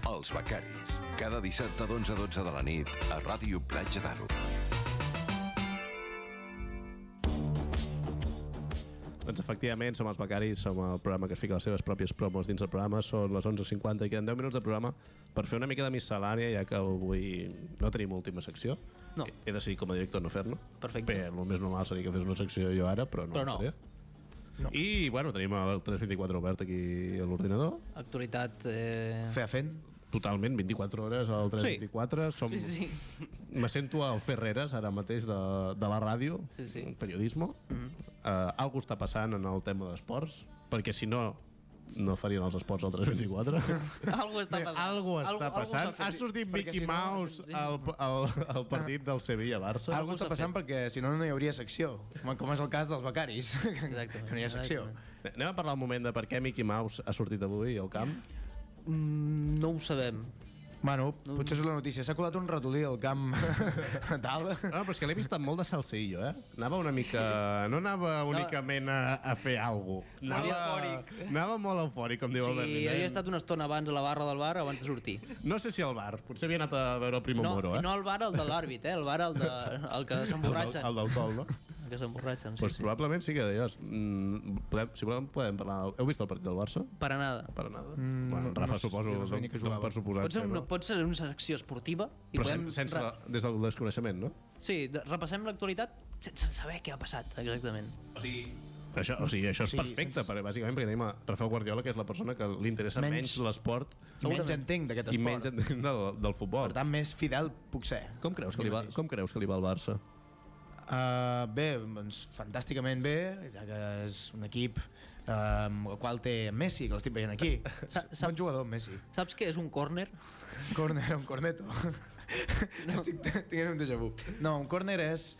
S6: Els becaris. Cada dissabte d'11 a 12 de la nit a Ràdio Platja d'Aro.
S1: Doncs efectivament, som els becaris, som el programa que es fica les seves pròpies promos dins del programa, són les 11.50 i queden 10 minuts de programa per fer una mica de miscel·lània, ja que avui no tenim última secció.
S2: No.
S1: He decidit com a director no fer-ne.
S2: Perfecte.
S1: Bé, el més normal seria que fes una secció jo ara, però no
S2: Però
S1: la
S2: no.
S1: faré. No. I, bueno, tenim el 324 obert aquí a l'ordinador.
S2: Actualitat... Eh...
S3: Fer a fent.
S1: Totalment, 24 hores al 324. Sí. Som...
S4: sí, sí.
S1: Me sento al Ferreres, ara mateix, de, de la ràdio,
S2: Sí, sí.
S1: periodisme. Mm -hmm. uh, algo està passant en el tema d'esports, perquè si no, no farien els esports al 324.
S2: Algo està passant.
S1: algo està
S2: Algo-
S1: passant.
S2: Algo s'ha
S1: ha
S2: fet.
S1: sortit
S3: perquè
S1: Mickey
S3: si no,
S1: Mouse
S2: sí.
S1: al, al, al partit del Sevilla-Barça.
S3: Algú
S2: s'ha
S3: està passant perquè si no no hi hauria secció, com- com és el cas dels becaris, que no hi ha secció.
S2: exactament.
S1: Anem a parlar un moment de per què Mickey Mouse ha sortit avui al camp.
S2: Mm, no ho sabem.
S3: Bueno, potser és la notícia. S'ha colat un ratolí al camp natal.
S1: No, però és que l'he vist amb molt de salsillo, eh? Anava una mica... No anava únicament a, a fer alguna cosa. Anava, anava molt eufòric, com diu el Bernin.
S2: Sí, havia estat una estona abans a la barra del bar abans de sortir.
S1: No sé si al bar, potser havia anat a veure el Primo
S2: No,
S1: Moro, eh?
S2: i no el bar el de l'àrbit, eh? El bar el, de, el que
S1: el, del-
S2: s'emborratxen.
S1: el del col, no?
S2: El que s'emborratxen, sí,
S1: pues
S2: sí.
S1: probablement sí que deies... Mm, podem, si volem, podem parlar... Heu vist el partit del Barça?
S2: Per a nada.
S1: Per a nada. Mm, bueno, Rafa,
S3: no sé,
S1: suposo,
S3: jo no sabia ni
S1: no,
S3: que
S1: no,
S3: jugava.
S1: per suposar.
S2: Pot ser, una, pot ser una secció esportiva i
S1: Però
S2: podem...
S1: sen, sense,
S2: re-
S1: des del desconeixement, no?
S2: Sí, de- repassem l'actualitat sense saber què ha passat, exactament.
S1: O sigui... Això, o sigui, això és
S3: Sí,
S1: perfecte,
S3: sense-
S1: perquè, bàsicament perquè tenim a Rafael Guardiola, que és la persona que li interessa menys,
S3: Menys.
S1: l'esport
S3: I menys entenc d'aquest
S1: i menys
S3: esport.
S1: en- del, del futbol.
S3: Per tant, més fidel puc ser.
S1: Com creus que li va, com creus que li va el Barça?
S3: Uh, bé, doncs fantàsticament bé, ja que és un equip uh, el qual té Messi, que l'estic veient aquí.
S2: Sa-
S3: És un
S2: saps-
S3: Bon jugador, Messi.
S2: Saps què és un córner?
S3: Corner, un corneto. No. Estic t- tenint un déjà vu. No, un corner és...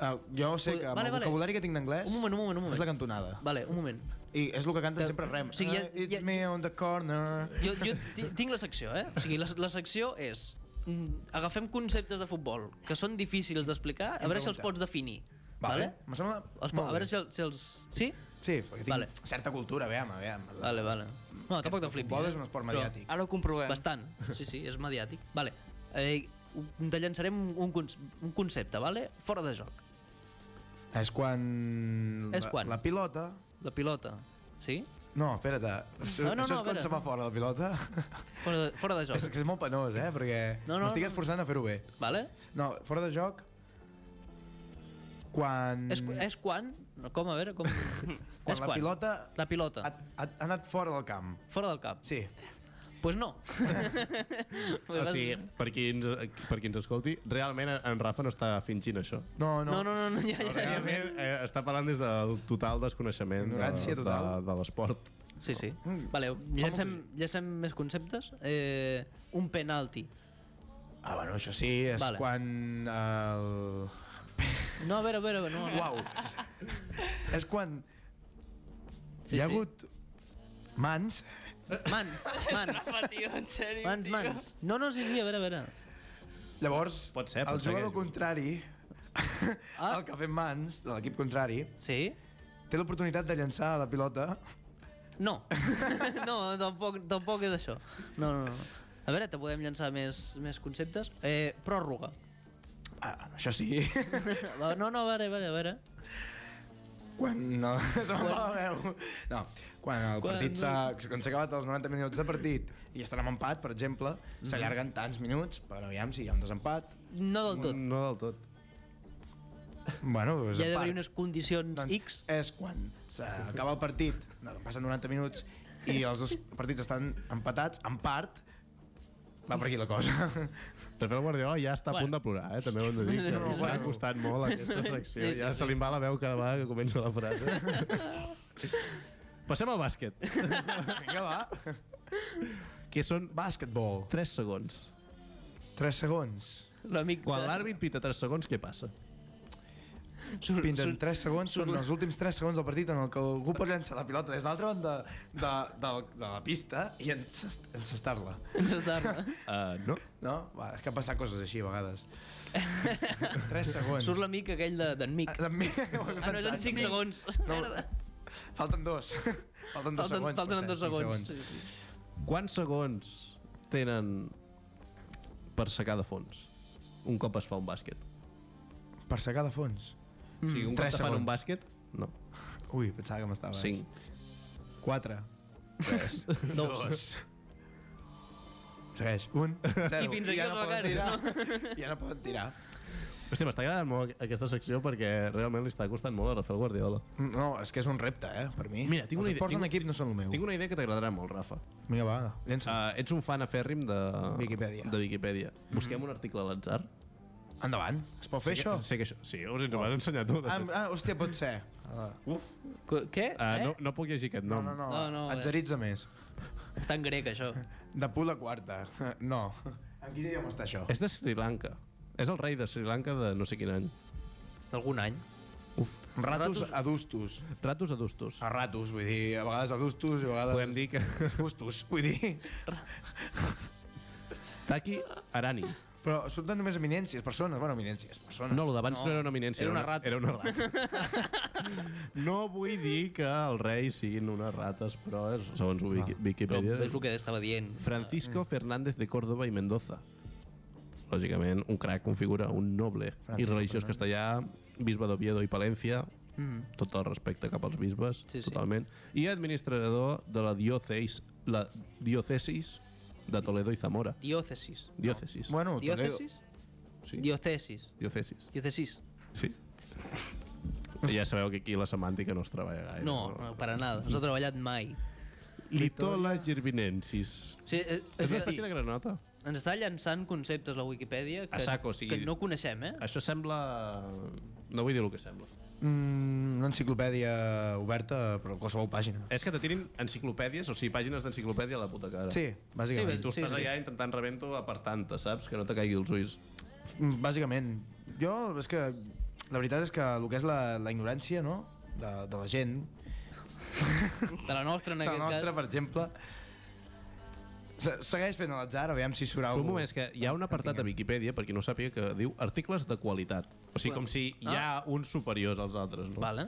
S3: Uh, jo sé
S2: Pu-
S3: que amb
S2: vale,
S3: el
S2: vale.
S3: vocabulari que tinc d'anglès
S2: Un moment, un moment, un
S3: és
S2: moment.
S3: la cantonada.
S2: Vale, un moment.
S3: I és el que canten
S2: Que-
S3: sempre rem.
S2: o sigui, ja-
S3: Ah, It's
S2: ja-
S3: me on the corner.
S2: Jo, jo ti- tinc la secció, eh? O sigui, la, la secció és... mm, Agafem conceptes de futbol que són difícils d'explicar, a
S3: Em
S2: veure si els
S3: pregunta.
S2: pots definir. Vale?
S3: Vale. Em sembla...
S2: Els, po-
S3: molt
S2: a
S3: bé.
S2: veure si, el, si els... Sí?
S3: Sí, perquè tinc
S2: Vale.
S3: certa cultura, veiem, veiem.
S2: Vale, vale. No, tampoc te'n flipis.
S3: futbol
S2: eh?
S3: és un esport
S2: Però
S3: mediàtic.
S4: Ara ho comprovem.
S2: Bastant, sí, sí, és mediàtic. Vale. Eh, un- te llançarem un, cons- un concepte, vale? fora de joc.
S3: És quan...
S2: És
S3: la-
S2: quan?
S3: La pilota...
S2: La pilota, sí?
S3: No, espera't.
S2: No, no,
S3: Això, això
S2: no,
S3: és quan
S2: espera.
S3: se va fora, la pilota.
S2: Fora de, fora de
S3: és,
S2: joc,
S3: que és molt penós, eh? Perquè
S2: No, no,
S3: no, no, m'estic
S2: no.
S3: esforçant a fer-ho bé.
S2: vale?
S3: No, fora de joc... Quan...
S2: És, és quan... No, com, a veure, com...
S3: Mm. quan
S2: és
S3: la pilota
S2: La pilota,
S3: ha, ha, ha anat fora del camp.
S2: fora del cap.
S3: Sí.
S2: Doncs pues no.
S1: O sigui, Ah, per qui, ens, per qui ens escolti, realment en Rafa no està fingint això.
S3: No, no.
S2: No, no, no, no ja, ja, ja.
S1: Realment eh, està parlant des del total desconeixement de,
S3: Ignorància
S1: de, de,
S3: total.
S1: l'esport.
S2: Sí, sí.
S3: Mm.
S2: Vale,
S3: molt
S2: llancem, llancem més conceptes. Eh, un penalti.
S3: Ah, bueno, això sí, és
S2: Vale.
S3: vale. quan... El...
S2: No, a veure, a veure, no. no.
S3: Uau. és quan
S2: Sí,
S3: sí, hi
S2: sí.
S3: ha hagut Mans.
S2: Mans, mans.
S4: Home, tio, en sèrio,
S2: Mans,
S4: tio.
S2: mans. No, no, sí, sí, a veure, a veure.
S3: Llavors,
S1: Pot ser, pot
S3: el
S1: ser que
S3: jugador
S1: jugui.
S3: contrari,
S2: Ah.
S3: el que ha fet mans de l'equip contrari,
S2: Sí?
S3: té l'oportunitat de llançar la pilota
S2: No. No, tampoc, tampoc és això. No, no, no. A veure, te podem llançar més, més conceptes. Eh, pròrroga.
S3: Ah, això sí.
S2: No, no, a veure, a veure, a veure.
S3: quan no, se me'n va la veu. No, quan el
S2: Quan
S3: partit s'ha quan s'ha acabat els 90 minuts de partit i estan en empat, per exemple, s'allarguen tants minuts, però aviam si hi ha un desempat.
S2: No del tot.
S1: No del tot.
S3: Bueno,
S2: Hi ha d'haver unes condicions
S3: doncs
S2: X.
S3: és quan s'acaba el partit, no, passen 90 minuts i els dos partits estan empatats, en part, va per aquí la cosa.
S1: Rafael Guardiola ja està a punt de plorar, eh? també ho hem de dir. Que li està
S2: Bueno.
S1: costant molt aquesta secció.
S2: Sí, sí,
S1: ja
S2: sí.
S1: se li va la veu cada vegada que comença la frase. Passem al bàsquet,
S3: Vinga, va.
S1: que són
S3: Bàsquetbol.
S1: 3 segons.
S3: 3 segons.
S2: L'amic...
S1: Quan
S2: de-
S1: l'àrbit pita 3 segons, què passa?
S2: Surt-
S3: Pinten
S2: surt-
S3: 3 segons, són els últims 3 segons del partit en el que algú pot llançar la pilota des de l'altra banda de, de, de la pista i encest- encestar-la.
S2: Ens tarda.
S1: Uh, no.
S3: No? Va, és que passa coses així a vegades. 3 segons.
S2: Surt l'amic aquell de- d'en Mic.
S3: Ah, també ho havia
S2: Ah, no, és en
S3: pensat.
S2: 5 segons.
S3: No,
S2: Merda.
S3: falten dos. Falten dos
S2: Falten,
S3: segons. per
S2: falten
S3: cert,
S2: dos
S3: cinc
S2: segons. Sí, sí.
S1: Quants segons tenen per secar de fons? Un cop es fa un bàsquet.
S3: Per secar de fons.
S1: Mm, o sigui, un cop
S3: Tres
S1: te fan
S3: segons.
S1: un bàsquet? No.
S3: Ui, pensava que m'estaves.
S1: 5.
S3: 4.
S1: 3.
S2: Dos.
S3: Segueix. 1.
S2: I fins aquí els becaris,
S3: Ja no poden tirar.
S1: Hòstia, m'està agradant molt aquesta secció perquè realment li està costant molt a Rafael Guardiola.
S3: No, és que és un repte, eh, per mi.
S1: Mira, tinc una idea-
S3: Els esports en
S1: tinc-
S3: equip no són el meu.
S1: Tinc una idea que t'agradarà molt, Rafa.
S3: Vinga, va, llença.
S1: Uh, ets un fan afèrrim de...
S3: Wikipedia.
S1: De Wikipedia.
S3: Mm.
S1: Busquem un article a l'atzar.
S3: Endavant. Es pot fer,
S1: Sé que-
S3: això?
S1: Sé que això... Ah. Sí, us ens ho vas ensenyar tu. de
S3: Ah,
S1: fet.
S3: ah, hòstia, pot ser. Ah,
S1: Uf.
S2: Co- Què?
S1: Uh,
S2: eh?
S1: no, no puc llegir aquest
S3: No,
S1: nom.
S3: no, no.
S2: No, no,
S3: Atzeritza més.
S2: Està en grec, això.
S3: De pula quarta. No. En quin idioma està això?
S1: És de Sri Lanka. És el rei de Sri Lanka de no sé quin any.
S2: D'algun any.
S1: Uf.
S3: Ratos adustos.
S1: Ratos adustos.
S3: A ratos, vull dir, a vegades adustos i a vegades...
S1: Ah, Podem dir que...
S3: Gustos, vull dir.
S1: Taki Arani.
S3: Però surten només eminències, persones. Bueno, eminències, persones.
S1: No, el d'abans no.
S2: No,
S1: era una eminència.
S2: era una rata.
S1: Era una rata. no vull dir que els reis siguin unes rates, però és, segons Wiki,
S2: Però
S1: Wikipedia...
S2: és el que estava dient.
S1: Francisco Fernández de Córdoba i Mendoza. Lògicament, un crac, un figura, un noble i
S3: Francisco
S1: religiós castellà, bisbe d'Oviedo i Palència, tot el respecte cap als bisbes,
S2: Mm. Sí, sí.
S1: totalment, i administrador de la diòcesis, la diòcesis de Toledo i Zamora.
S2: Diòcesis.
S1: Diòcesis.
S3: Bueno, Toledo...
S2: Diòcesis?
S1: Sí.
S2: Diòcesis.
S1: Diòcesis.
S2: Diòcesis.
S1: Sí. Ja sabeu que aquí la semàntica no es treballa gaire.
S2: No, no, per a nada. No s'ha treballat mai.
S1: Litola gervinensis.
S2: O sigui, eh,
S1: És una
S2: és a dir,
S1: espècie de granota.
S2: ens està llançant conceptes la Wikipedia que,
S1: A saco, o sigui-
S2: que no coneixem, eh?
S1: Això sembla... No vull dir el que sembla.
S3: Mm, una enciclopèdia oberta, però a qualsevol pàgina.
S1: És que te tirin enciclopèdies, o sigui, pàgines d'enciclopèdia a la puta cara.
S3: Sí,
S1: I
S3: bàsicament.
S1: tu
S2: Sí,
S1: estàs
S2: sí.
S1: allà intentant rebent-ho apartant-te, saps? Que no te caigui els ulls.
S3: Mm, Bàsicament. Jo, és que... La veritat és que el que és la, la ignorància, no?, de, de la gent,
S2: De la nostra, en
S3: de la
S2: aquest
S3: nostra,
S2: cas.
S3: per exemple, se- segueix fent a l'atzar, aviam si surt
S1: Però
S3: alguna
S1: un moment, és que hi ha un apartat a Wikipedia, per qui no ho sàpiga, que diu articles de qualitat. O sigui, com si hi ha uns superiors als altres, no?
S2: Ah. Vale.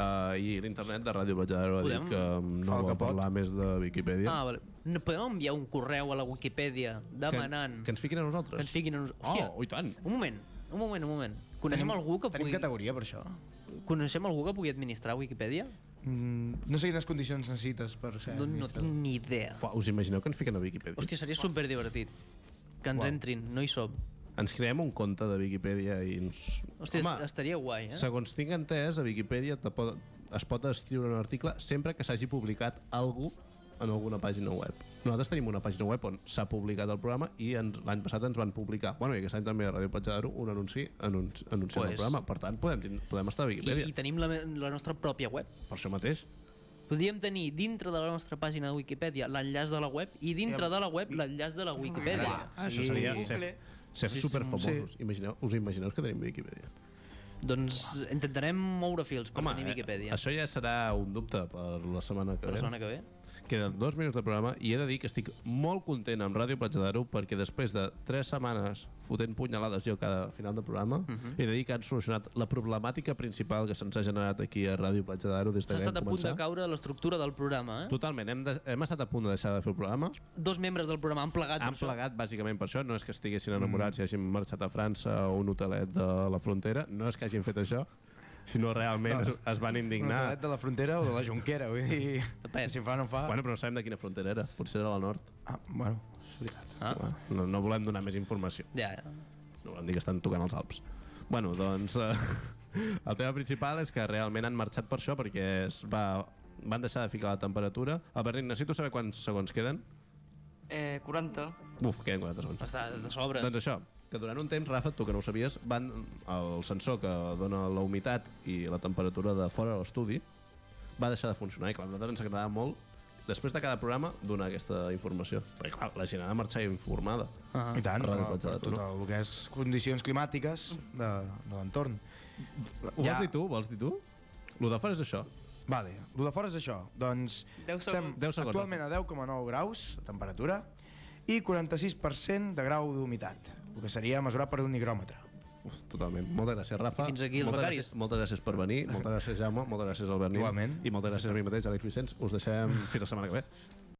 S1: Uh, I l'internet de Ràdio Platjadero ha dit
S2: Podem-
S1: que mm,
S3: Fa
S1: no
S3: el
S1: vol
S3: que pot.
S1: parlar més de Wikipedia.
S2: Ah, vale. No, podem enviar un correu a la Wikipedia demanant
S1: Que, que ens fiquin a nosaltres.
S2: que ens fiquin en... Hòstia,
S1: Oh, i tant.
S2: un moment, un moment, un moment. Coneixem algú que
S3: Tenim
S2: pugui...
S3: categoria per això?
S2: Coneixem algú que pugui administrar Wikipedia?
S3: Mm, no sé quines condicions necessites per ser
S2: No, no
S3: administrador.
S2: tinc ni idea.
S1: Fa, us imagineu que ens fiquen a Wikipedia?
S2: Hòstia, seria superdivertit. Que ens entrin, no hi som.
S1: Ens creem un compte de Wikipedia i ens...
S2: Hòstia,
S1: Home,
S2: est- estaria guai, eh?
S1: Segons tinc entès, a Wikipedia te pot, es pot escriure un article sempre que s'hagi publicat algú en alguna pàgina web. Nosaltres tenim una pàgina web on s'ha publicat el programa i ens- l'any passat ens van publicar, bueno, i aquest any també a Ràdio Petjadero, un anunci anun anunciant pues...
S2: Pues-
S1: el programa. Per tant, podem, tin- podem estar a
S2: I,
S1: Wikipedia.
S2: I tenim la, me- la nostra pròpia web.
S1: Per això mateix.
S2: Podríem tenir dintre de la nostra pàgina de Wikipedia l'enllaç de la web i dintre de la web l'enllaç de la Wikipedia.
S1: Ah, Això seria ser, ser
S3: Sí, sí,
S1: superfamosos.
S3: sí.
S1: Imagineu, us imagineu que tenim Wikipedia?
S2: Doncs intentarem moure fils per tenir
S1: eh,
S2: Wikipedia.
S1: això ja serà un dubte per la setmana que
S2: Per la
S1: ve.
S2: setmana que ve.
S1: Queden dos minuts de programa i he de dir que estic molt content amb Ràdio Platja d'Aro perquè després de tres setmanes fotent punyalades jo cada final de programa,
S2: Mhm.
S1: he de dir que han solucionat la problemàtica principal que se'ns ha generat aquí a Ràdio Platja d'Aro des de que
S2: S'ha estat
S1: vam
S2: a punt de
S1: començar.
S2: caure l'estructura del programa, eh?
S1: Totalment, hem, de, hem estat a punt de deixar de fer el programa.
S2: Dos membres del programa han plegat.
S1: Han
S2: per això. Mm.
S1: plegat bàsicament per això, no és que estiguessin enamorats i hagin marxat a França o un hotelet de la frontera, no és que hagin fet això, sinó realment es, es van indignar.
S3: de la frontera o de la Junquera, vull dir...
S2: Depèn.
S3: Si fa no fa...
S1: Bueno, però no sabem de quina frontera era, potser era la nord.
S3: Ah, bueno, és veritat.
S2: Ah,
S1: No, no volem donar més informació.
S2: ja, ja.
S1: No volem dir que estan tocant els Alps. Bueno, doncs eh, el tema principal és que realment han marxat per això perquè es va, van deixar de ficar la temperatura. El Bernat, necessito saber quants segons queden.
S4: Eh, 40.
S1: Uf, queden 4 segons.
S2: Està de sobre.
S1: Doncs això, que durant un temps, Rafa, tu que no ho sabies, van el sensor que dona la humitat i la temperatura de fora de l'estudi va deixar de funcionar i clar, a nosaltres ens agradava molt després de cada programa donar aquesta informació. Perquè clar, la gent ha de marxar informada.
S3: Ah, I tant,
S1: Ràdio
S3: no,
S1: Platja
S3: per
S1: d'Aro,
S3: tot
S1: no?
S3: el que és condicions climàtiques de, de l'entorn.
S1: Ho vols dir tu? Ho vols dir tu? Lo de fora és això.
S3: Vale, el de fora és això. Doncs
S4: Deu
S3: estem
S4: segons.
S1: Deu segons,
S3: actualment a 10,9 graus de temperatura i 46% de grau d'humitat, el que seria mesurat per un higròmetre.
S1: Uf, totalment. Moltes gràcies, Rafa.
S2: I fins aquí els
S1: moltes
S2: becaris.
S1: gràcies, moltes gràcies per venir, moltes gràcies, Jaume, moltes gràcies, Albert Nin,
S3: Igualment.
S1: i moltes gràcies a mi mateix, Àlex Vicenç. Us deixem fins la setmana que ve.